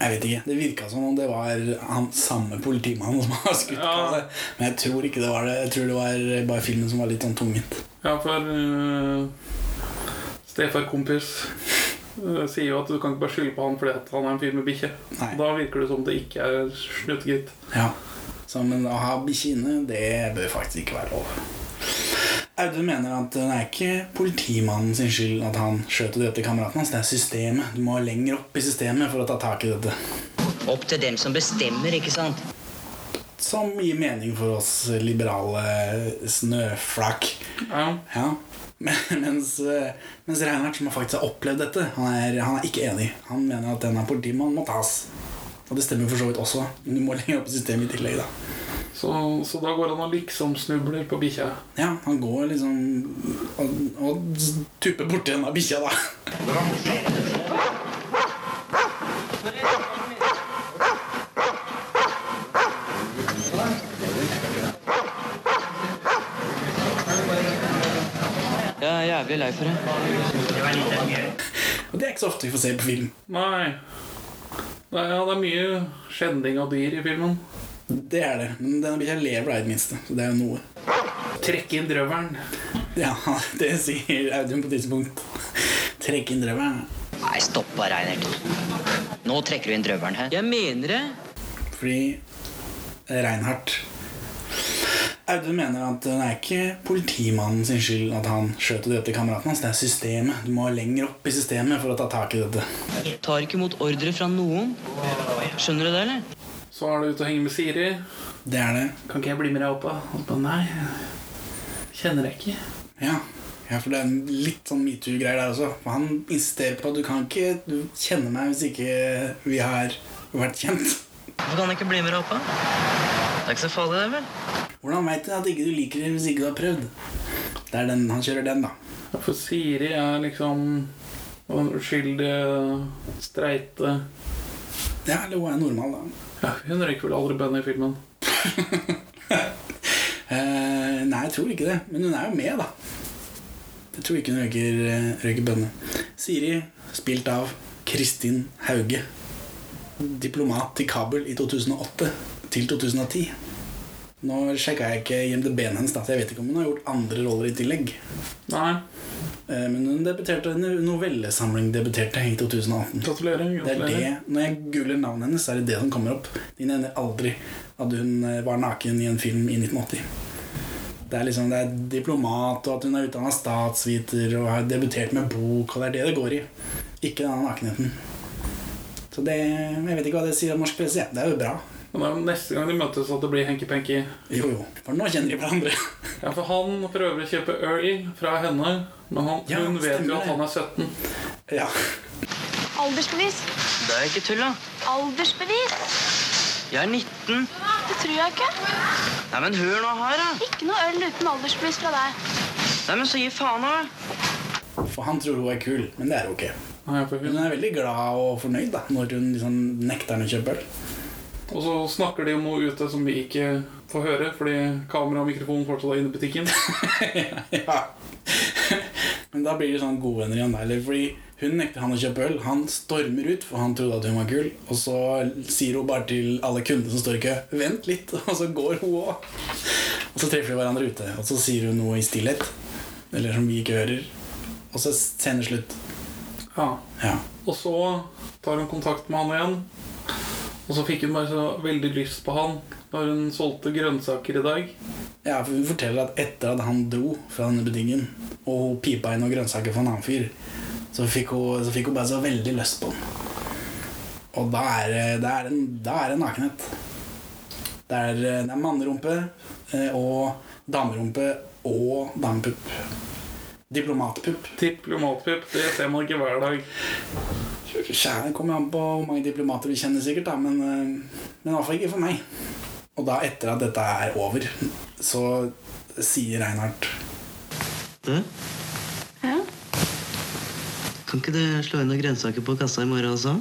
Jeg vet ikke. Det virka som om det var han samme politimannen som har skutt på Ja. seg. Men jeg tror ikke det var det. Jeg tror det var bare filmen som var litt sånn tungvint. Ja, for uh, stefarkompis eh, sier jo at du kan ikke bare skylde på han fordi at han er en fyr med bikkje. Nei. Da virker det som det ikke er snuttegitt. Ja. Så, men å ha bikkje inne, det bør faktisk ikke være lov. Audun mener at det er ikke politimannen sin skyld at han skjøt og drepte kameraten hans. Det er systemet. Du må lenger opp i systemet for å ta tak i dette. Opp til dem som bestemmer, ikke sant? Som gir mening for oss liberale snøflak. Ja. Ja. Men, mens, eh, mens Reinhardt, som har faktisk har opplevd dette, han er, han er ikke enig. Han mener at denne politimannen må tas. Og det stemmer for så vidt også. Men du må lenger opp i systemet i tillegg, da. Så, så da går han og liksom snubler på bikkja. Ja, han går liksom og, og tupper borti denne bikkja, da. <laughs> Jeg er jævlig lei for det. Og det er ikke så ofte vi får se på film. Nei. Nei, ja, det er mye skjending av dyr i filmen. Det er det. Men denne bikkja lever da, i det minste. Så det er jo noe. Trekke inn drøvelen. Ja, <laughs> det sier Audun på et tidspunkt. Trekk inn drøvelen. Nei, stopp da, Reinert. Nå trekker du inn drøvelen her. Jeg mener det. Fordi Reinhardt Audun mener at det er ikke politimannen sin skyld at han skjøt og drepte kameraten hans. Det er systemet. Du må lenger opp i systemet for å ta tak i dette. Tar ikke imot ordre fra noen. Skjønner du det, eller? Så er det ute og henge med Siri. Det er det. Kan ikke jeg bli med deg opp, da? Og så bare, Nei. Kjenner jeg ikke. Ja. Ja, for det er en litt sånn metoo-greier der også. For han insisterer på at du kan ikke du kjenne meg hvis ikke vi har vært kjent. Hvorfor kan jeg ikke bli med deg opp, da? Det er ikke så farlig, det, vel? Hvordan veit du at ikke du liker det hvis ikke du har prøvd? Det er den, Han kjører den, da. Ja, For Siri er liksom den uskyldige, streite Ja, eller hun er normal, da. ja, Hun røyker vel aldri bønn i filmen. Eh, nei, jeg tror ikke det. Men hun er jo med, da. Jeg tror ikke hun røyker, eh, røyker bønne. Siri, spilt av Kristin Hauge. Diplomat i Kabul i 2008 til 2010. Nå sjekka jeg ikke IMDb-en hennes, da, så jeg vet ikke om hun har gjort andre roller i tillegg. Nei. Eh, Men hun debuterte en novellesamling debuterte i 2018. Gratulerer. Det er det, gratulerer. Når jeg googler navnet hennes, så er det det som kommer opp. De nevner aldri at hun eh, var naken i en film i 1980. Det er liksom, det er diplomat, og at hun er utdanna statsviter og har debutert med bok, og det er det det går i. Ikke denne nakenheten. Så det, Jeg vet ikke hva det sier om norsk presse. Ja, det er jo bra. Men det er jo neste gang de møtes at det blir hanky-panky. Jo, jo. For nå kjenner de hverandre. <laughs> Ja, for han prøver å kjøpe øl fra henne, men han, Ja, hun vet stemmer jo at det. han er 17. ja. Aldersbevis. Det er ikke tull, da. Aldersbevis. Jeg er 19. Det tror jeg ikke. Nei, men hør nå her, da. Ikke noe øl uten aldersbevis fra deg. Nei, men så gi faen, da. For han tror hun er kul, men det er hun ikke. Nei, for hun. Hun er veldig glad og fornøyd da når hun liksom nekter henne å kjøpe øl. Og så snakker de om noe ute som vi ikke får høre, fordi kamera og mikrofon fortsatt er inne i butikken. <laughs> ja. Men da blir de sånn gode venner igjen. da, Eller fordi hun nekter han å kjøpe øl. Han stormer ut, for han trodde at hun var kul. Og så sier hun bare til alle kundene som står i kø 'vent litt', <laughs> og så går hun òg. Og så treffer de hverandre ute, og så sier hun noe i stillhet. Eller som vi ikke hører. Og så sender slutt. Ja. Ja. Og så tar hun kontakt med han igjen. Og så fikk hun bare så veldig lyst på han når hun solgte grønnsaker i dag. Ja, for Hun forteller at etter at han dro fra denne butikken og hun pipa inn noen grønnsaker for en annen fyr, så fikk hun, så fikk hun bare så veldig lyst på den. Og da er det- da er det en, da er det nakenhet. Det er, det er mannerumpe eh, og damerumpe og damepupp. Diplomatpupp. Diplomatpupp, det ser man ikke hver dag. Kjære, det kommer an på hvor mange diplomater du kjenner sikkert, da, men, eh, men i hvert fall ikke for meg. Og da, etter at dette er over, så sier Reinhardt Kan ikke du slå inn noen grønnsaker på kassa i morgen også?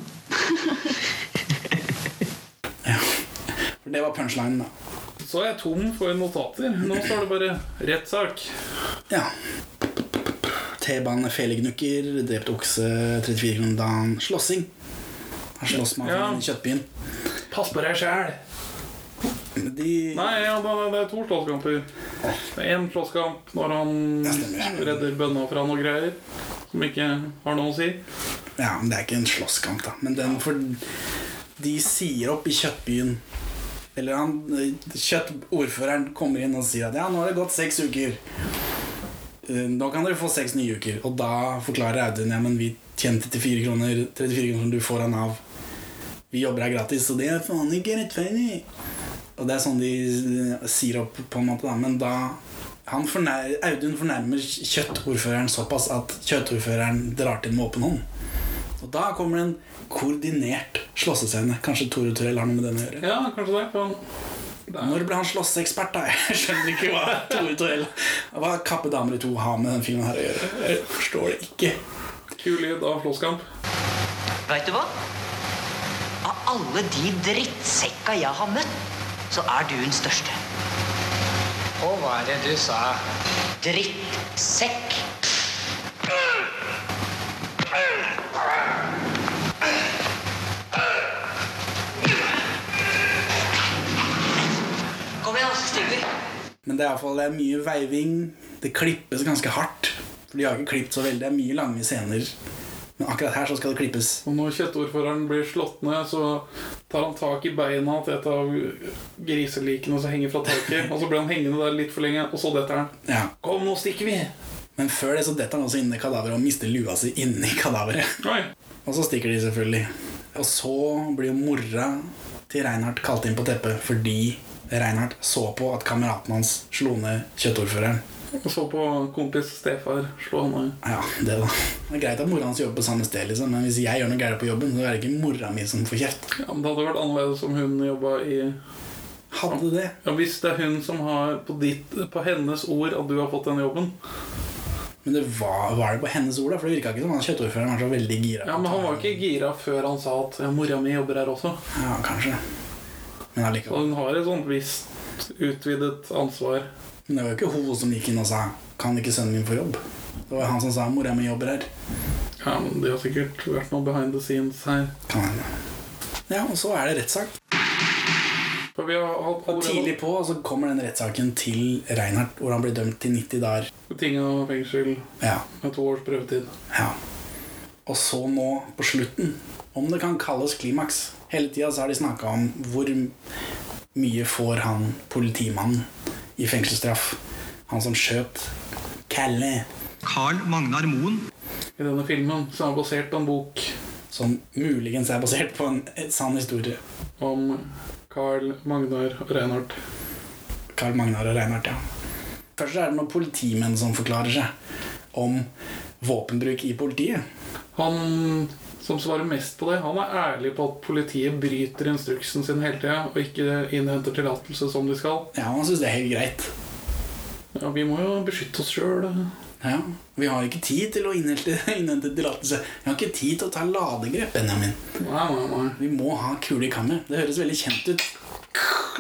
For det var punchlinen, da. Så er jeg tom for notater. Nå står det bare 'rettssak'. Ja. T-bane, felegnukker, drept okse, 34 kroner dagen, slåssing. Her slåss man Ja. ja. i kjøttbyen. Pass på deg sjæl. De Nei, ja, da, det er to slåsskamper. Det er én slåsskamp når han stemmer. redder bønna fra noe greier som ikke har noe å si. Ja, men det er ikke en slåsskamp, da. Men den for De sier opp i kjøttbyen. Eller han eh, kjøttordføreren kommer inn og sier at ja, nå har det gått seks uker. Eh, Nå kan dere få seks nye uker. Og da forklarer Audun ja, men vi tjente 34 kroner, 34 kroner som du får av Nav. Vi jobber her gratis, så det er faen ikke rettferdig. Og det er sånn de eh, sier opp, på en måte, da. Men da han fornær, Audun fornærmer kjøttordføreren såpass at kjøttordføreren drar til med åpen hånd. Og da kommer det en koordinert slåssescene. Kanskje Tore Turell har noe med den å gjøre. Ja, kanskje det. for han- Når ble han slåsseekspert, da? <laughs> Jeg skjønner ikke hva Tore Turell Hva Kappe damer i to har med den filmen her å gjøre. Jeg forstår det ikke. Kul lyd av slåsskamp. Veit du hva? Av alle de drittsekka jeg har møtt, så er du den største. Og hva er det du sa? Drittsekk. Kom igjen, stykker. Men det er, i hvert fall, det er mye veiving. Det klippes ganske hardt. For de har ikke klippet så veldig. Det er mye lange scener. Men akkurat her så skal det klippes. Og når kjøttordføreren blir slått ned, så tar han tak i beina til et av griselikene som henger fra taket. Og så blir han hengende der litt for lenge, og så detter han. Ja. Kom, nå stikker vi! Men før det så detter han også inn i kadaveret og mister lua si inni kadaveret. Oi. Og så stikker de selvfølgelig. Og så blir jo mora til Reinhardt kalt inn på teppet fordi Reinhardt så på at kameraten hans slo ned kjøttordføreren. Og så på kompis stefar slå hånda i. Ja, det da. Det er greit at mora hans jobber på samme sted, liksom, men hvis jeg gjør noe gærent på jobben, så er det ikke mora mi som får kjeft. Ja, men det hadde vært annerledes om hun jobba i Hadde det? Ja, Hvis det er hun som har på, ditt, på hennes ord at du har fått denne jobben. Men det var, var det på hennes ord, da? For det virka ikke som han kjøttordføreren var så veldig gira. Ja, Men han var ikke gira før han sa at ja, 'mora mi jobber her også'. Ja, kanskje. Men allikevel. Så hun har et sånt visst utvidet ansvar. Men det var jo ikke hun som gikk inn og sa 'Kan ikke sønnen min få jobb?' Det var jo han som sa 'Mora mi jobber her'. Ja, men Det har sikkert vært noe behind the scenes her. Kan hende. Ja, og så er det rettssak. For vi har hatt Og tidlig på så kommer den rettssaken til Reinhardt, hvor han blir dømt til 90 dager. Ting og fengsel Ja. med to års prøvetid. Ja. Og så nå, på slutten, om det kan kalles klimaks Hele tida så har de snakka om hvor mye får han politimannen i fengselsstraff. Han som skjøt Kalle. Carl Magnar Moen. I denne filmen, som er basert på en bok Som muligens er basert på en en sann historie. om Carl Magnar og Reinhardt. Carl Magnar og Reinhardt, ja. Først så er det noen politimenn som forklarer seg om våpenbruk i politiet. Han som svarer mest på det, han er ærlig på at politiet bryter instruksen sin hele tida og ikke innhenter tillatelse som de skal. Ja, han syns det er helt greit. Ja, Vi må jo beskytte oss sjøl. Ja, Vi har ikke tid til å innhente, <laughs> innhente tillatelse. Vi har ikke tid til å ta ladegrep, Benjamin. Nei, nei, nei. Vi må ha kule i kammet. Det høres veldig kjent ut. <laughs>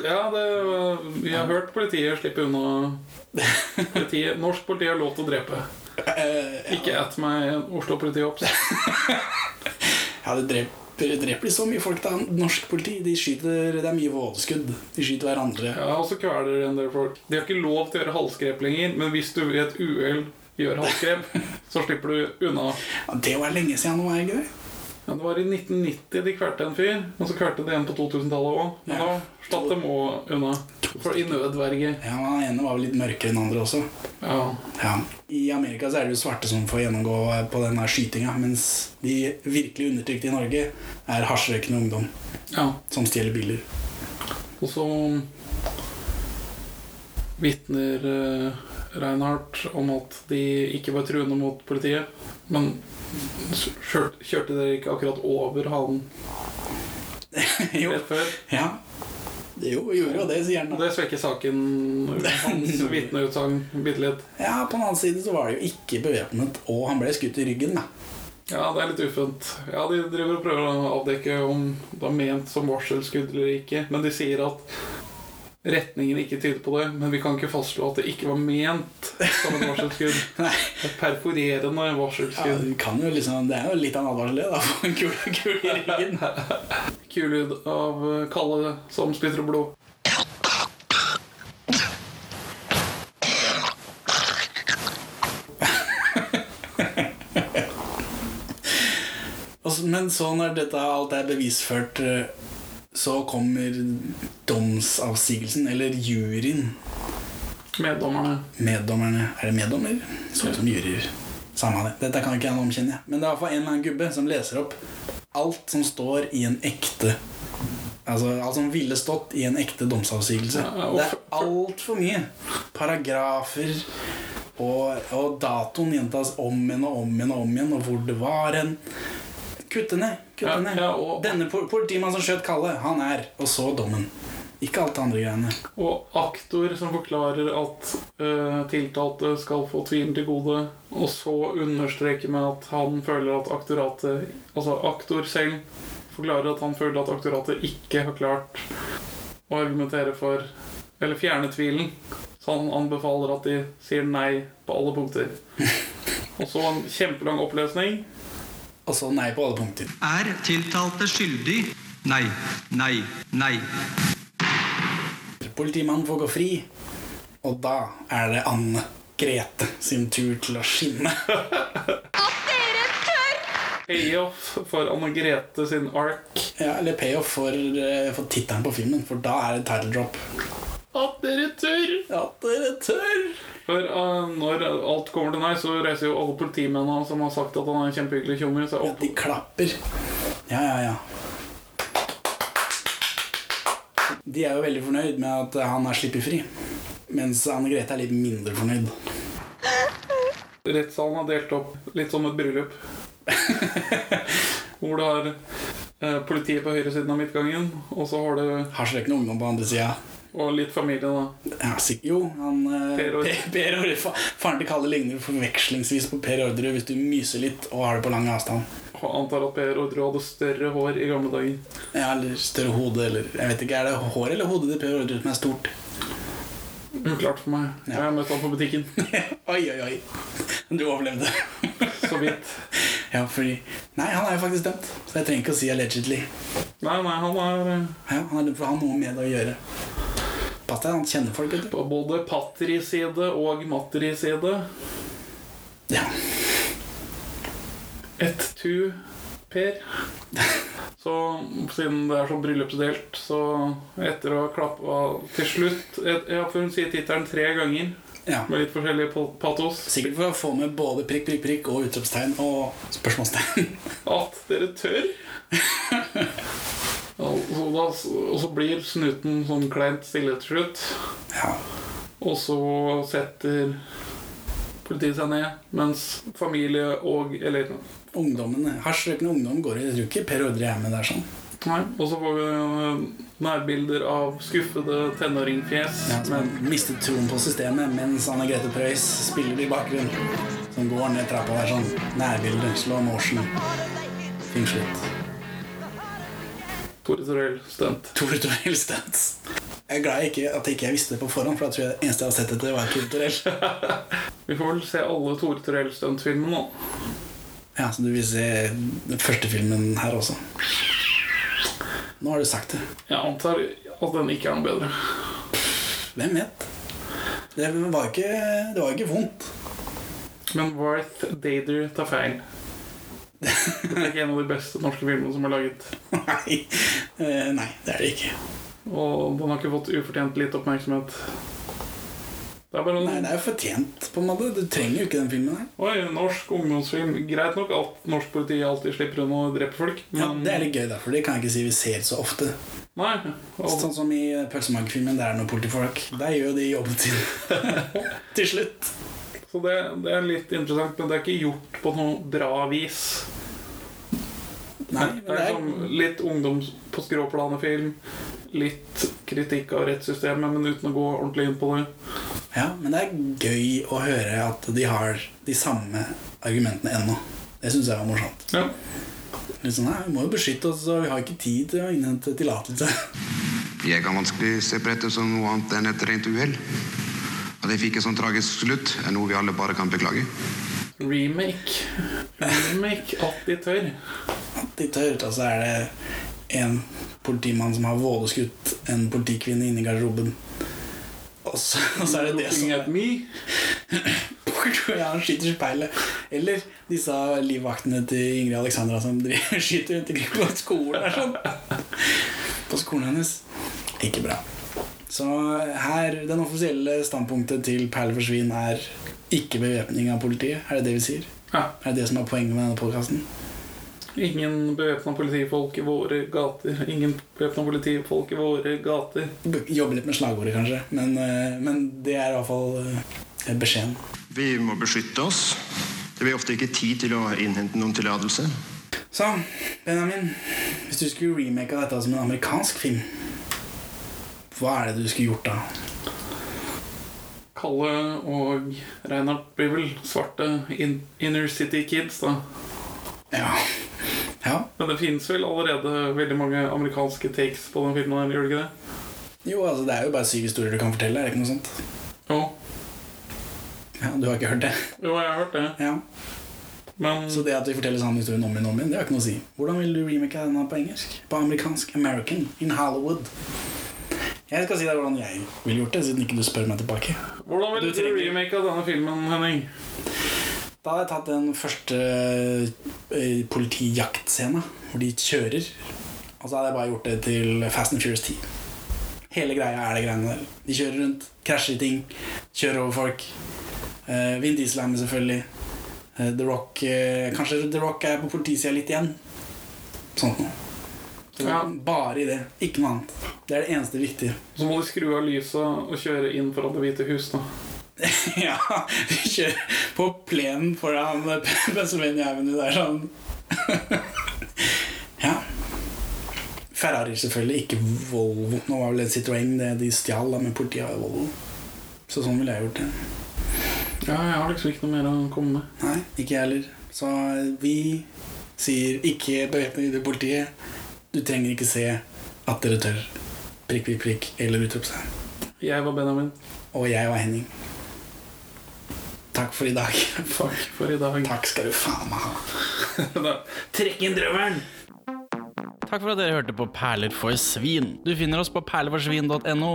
Ja, det, vi har hørt politiet slippe unna. Politiet, norsk politi har lov til å drepe. Ikke at meg Oslo-politiet opp. Ja, det dreper, dreper de så mye folk, da. Norsk politi. De skyter, det er mye vådeskudd. De skyter hverandre. Ja, og så kveler de en del folk. De har ikke lov til å gjøre halsgrep lenger, men hvis du ved et uhell gjør halsgrep, <laughs> så slipper du unna. Ja, det var lenge siden nå, er det ikke det? Ja, det var i 1990 de kvelte en fyr, og så kvelte de en på 2000-tallet òg. Men da slapp de òg unna. For i nødverge. Ja, men Den ene var vel litt mørkere enn andre også. Ja. Ja. I Amerika så er det jo svarte som får gjennomgå på denne skytinga, mens de virkelig undertrykte i Norge er hasjrøykende ungdom ja. som stjeler biler. <laughs> Og så um, vitner eh, Reinhardt om at de ikke var truende mot politiet. Men s- kjør- kjørte dere ikke akkurat over halen jo. rett før? Ja. Det jo, gjorde jo det, sier han. Og det svekker saken. Hans vitneutsagn bitte litt. Ja, på den annen side så var det jo ikke bevæpnet, og han ble skutt i ryggen, da. Ja, det er litt uffent. Ja, De driver og prøver å avdekke om det er ment som varselskudd eller ikke. Men de sier at retningen ikke tyder på det. Men vi kan ikke fastslå at det ikke var ment som et varselskudd. Et perforerende Ja, varselskudd. du kan jo liksom, det er jo litt av en advarsel, det, da. For en kul, kul i ryggen. Kul lyd av eh, Kalle som spytter blod. Og så- Men så når dette alt er bevisført, eh, så kommer domsavsigelsen, eller juryen. Meddommerne. Meddommerne. Er det meddommer? Så ut som juryer. Samme det. Dette kan ikke jeg noe om, kjenner jeg. Men det er i hvert fall en eller annen gubbe som leser opp alt som står i en ekte Altså alt som ville stått i en ekte domsavsigelse. Ja, og Det er altfor mye. Paragrafer og, og datoen gjentas om igjen og om igjen og om igjen, og hvor det var hen. Kutte ned. kutte Ja, ned ja, og- Denne po- politimannen som skjøt Kalle, han er Og så dommen. Ikke alt det andre greiene. Og aktor som forklarer at eh, tiltalte skal få tvilen til gode. Og så understreker med at han føler at aktoratet Altså aktor selv forklarer at han føler at aktoratet ikke har klart å argumentere for Eller fjerne tvilen. Så han anbefaler at de sier nei på alle punkter. Og så en kjempelang opplesning. Og så nei på alle punkter. Er tiltalte skyldig? Nei, nei, nei. Politimannen får gå fri, og da er det Anne Grete sin tur til å skinne. Payoff for Anne Grete sin ark. Ja, eller payoff for, eh, for tittelen på filmen, for da er det title drop. At dere tør! At dere tør! For eh, når alt kommer til nei, så reiser jo alle politimennene som har sagt at han er en kjempehyggelig tjommi. seg opp. De klapper. Ja, ja, ja. De er jo veldig fornøyd med at han er sluppet fri, mens Anne Grete er litt mindre fornøyd. Rettssalen er delt opp litt som et bryllup. <laughs> Hvor du har eh, politiet på høyre siden av midtgangen, og så har du Hasjrekkende ungdom på andre sida. Og litt familie, da. Ja, sikk- jo, han eh, Per Ord- Per, <laughs> per Ord- fa- Faren til Kalle ligner forvekslingsvis på Per Orderud hvis du myser litt og har det på lang avstand. Og antar at Per Ordre hadde større hår i gamle dager. Ja, eller større hode, eller Jeg vet ikke, er det hår eller hodet til Per Orderud som er stort? <laughs> Uklart for meg. Jeg har møtt han på butikken. oi, oi, <laughs> oi. Du overlevde. <laughs> Så vidt. Ja, fordi Nei, han er jo faktisk dømt, så jeg trenger ikke å si allegedly. Nei, nei, han er eh, Ja, han er dømt for å ha noe med det å gjøre. Pass deg, han kjenner folk, vet du. På både Patri-side og Matri-side. Ja. Ett tu, Per. Så siden det er sånn bryllupsdelt, så etter å ha klappa til slutt et- Ja, for hun sier tittelen tre ganger. Ja. Med litt forskjellig pa- patos. Sikkert for å få med både prikk, prikk, prikk og utropstegn og spørsmålstegn. <laughs> At dere tør? <laughs> og, så da, og så blir snuten sånn kleint stille til slutt. Og så setter politiet seg ned, mens familie og eller, Ungdommene, Hasjrøkende ungdom går i Jeg tror ikke Per Ordre er med der sånn. Nei, Og så får vi eh, nærbilder av skuffede tenåringfjes. Ja, som har mistet troen på systemet mens Anne Grete Preus spiller i bakgrunnen. Som går ned trappa der sånn. Nærbilde, slow motion. Fengslet. Tore Torell stunt. Tore Torell stunt. Jeg er glad jeg ikke, at jeg ikke visste det på forhånd, for da tror jeg det eneste jeg hadde sett etter, var Tore Torell. Vi får vel se alle Tore Torell stunt-filmene nå. ja, så du vil se den første filmen her også. Nå har du sagt det. Jeg antar at den ikke er noe bedre. Hvem vet? Det var ikke, det var ikke vondt. <laughs> Men Warth Dader tar feil. Det er ikke en av de beste norske filmene som er laget. Nei. Eh, nei, det er det ikke. Og den har ikke fått ufortjent litt oppmerksomhet. Det er bare en Nei, det er jo fortjent, på en måte. Du trenger jo ikke den filmen her. Oi, norsk ungdomsfilm. Greit nok at norsk politi alltid slipper unna å drepe folk, Ja, men Det er litt gøy, da, for det kan jeg ikke si vi ser så ofte. Nei. Og Sånn som i Pølsemakerfilmen, der er noen politifolk. Der gjør jo de jobben sin. <laughs> Til slutt. Så det, det er litt interessant, men det er ikke gjort på noe bra vis. Nei, det er sånn- som litt ungdoms på skråplanet-film. Litt kritikk av rettssystemet, men uten å gå ordentlig inn på det. Ja, Men det er gøy å høre at de har de samme argumentene ennå. Det syns jeg var morsomt. Ja. Litt sånn, nei, Vi må jo beskytte oss, og vi har ikke tid til å innhente tillatelse. <laughs> Jeg kan vanskelig se på dette som noe annet enn et rent uhell. At jeg fikk et sånn tragisk slutt, er noe vi alle bare kan beklage. Remake. Remake at de tør. At de tør. Og så er det en politimann som har vådeskutt en politikvinne inne i garderoben. Og så, og så er det det som at me. ja, han skyter i speilet. Eller disse livvaktene til Ingrid Alexandra som driver, skyter rundt omkring på skolen. og Sånn. På skolen hennes. Ikke bra. Så her, den offisielle standpunktet til Perle for svin er ikke bevæpning av politiet. Er det det vi sier? Ja. Er det det som er poenget med denne podkasten? Ingen bevæpna politifolk i våre gater. Ingen bevæpna politifolk i våre gater. Jobbe litt med slagordet, kanskje. Men, eh, men det er iallfall eh, beskjeden. Vi må beskytte oss. Det blir ofte ikke tid til å innhente noen tillatelse. Så, Benjamin, hvis du skulle remake av dette som en amerikansk film, hva er det du skulle gjort da? Kalle og Reinhardt blir vel svarte in inner city kids, da. Ja. Men det fins vel allerede veldig mange amerikanske takes på den filmen, her, gjør det ikke det? Jo, altså Det er jo bare syv historier du kan fortelle. er det ikke noe sånt? Jo. Ja, Du har ikke hørt det? Jo, jeg har hørt det. Ja. Så det at vi forteller samme historien om igjen og om igjen, det har ikke noe å si. Hvordan vil du remake denne på engelsk? På amerikansk? American? In Hollywood? Jeg skal si deg hvordan jeg ville gjort det, siden ikke du spør meg tilbake. Hvordan vil du, remake av denne filmen, Henning? Da hadde jeg tatt den første eh, politijaktscena, hvor de kjører. Og så hadde jeg bare gjort det til Fast and Furious 10. Hele greia er det greiene der. De kjører rundt, krasjer i ting, kjører over folk. Uh, Vin Diesel er med, selvfølgelig. Eh, The Rock eh, Kanskje The Rock er på politisida litt igjen. Sånt noe. Så Bare i det. Ikke noe annet. Det er det eneste viktige. Så må de skru av lyset og kjøre inn foran Det hvite hus, da. <laughs> ja, vi kjører på plenen foran <laughs> Pennsylvania Avenue. Det er sånn <laughs> Ja. Ferrari, selvfølgelig, ikke Volvo. Nå var vel det Citroën det de stjal, da, men politiet har jo Volvo. Så sånn ville jeg gjort det. Ja, jeg har liksom ikke noe mer å komme med. Nei, ikke jeg heller. Så eh, vi sier ikke bevæpne til politiet. Du trenger ikke se at dere tør. Prikk, prikk, prikk. Eller utropstegn. Jeg var Benjamin. Og jeg var Henning. Takk for i dag. <laughs> Takk for i dag. Takk skal du faen meg ha. <laughs> Trekk inn drømmeren! Takk for at dere hørte på Perler for svin. Du finner oss på perleforsvin.no.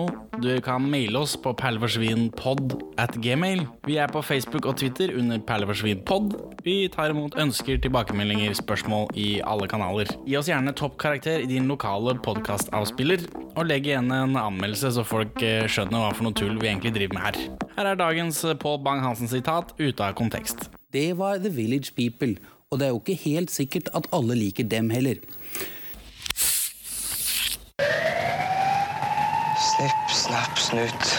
Du kan maile oss på perleforsvinpod at gmail. Vi er på Facebook og Twitter under perleforsvinpod. Vi tar imot ønsker, tilbakemeldinger, spørsmål i alle kanaler. Gi oss gjerne toppkarakter i din lokale podkastavspiller, og legg igjen en anmeldelse så folk eh, skjønner hva for noe tull vi egentlig driver med her. Her er dagens eh, Pål Bang-Hansen-sitat ute av kontekst. Det var The Village People, og det er jo ikke helt sikkert at alle liker dem heller. Snipp, snapp, snut.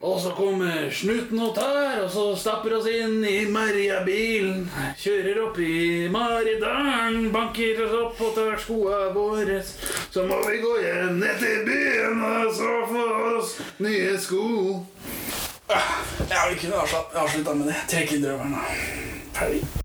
Og så kommer snuten og tær, og så stapper oss inn i Merjabilen. Kjører opp i Maridalen, banker oss opp og tar skoa våre. Så må vi gå hjem ned til byen og så få oss nye sko. Jeg vil kunne avslut- avslutta med det. Trekk inn drømmeren, da. Ferdig.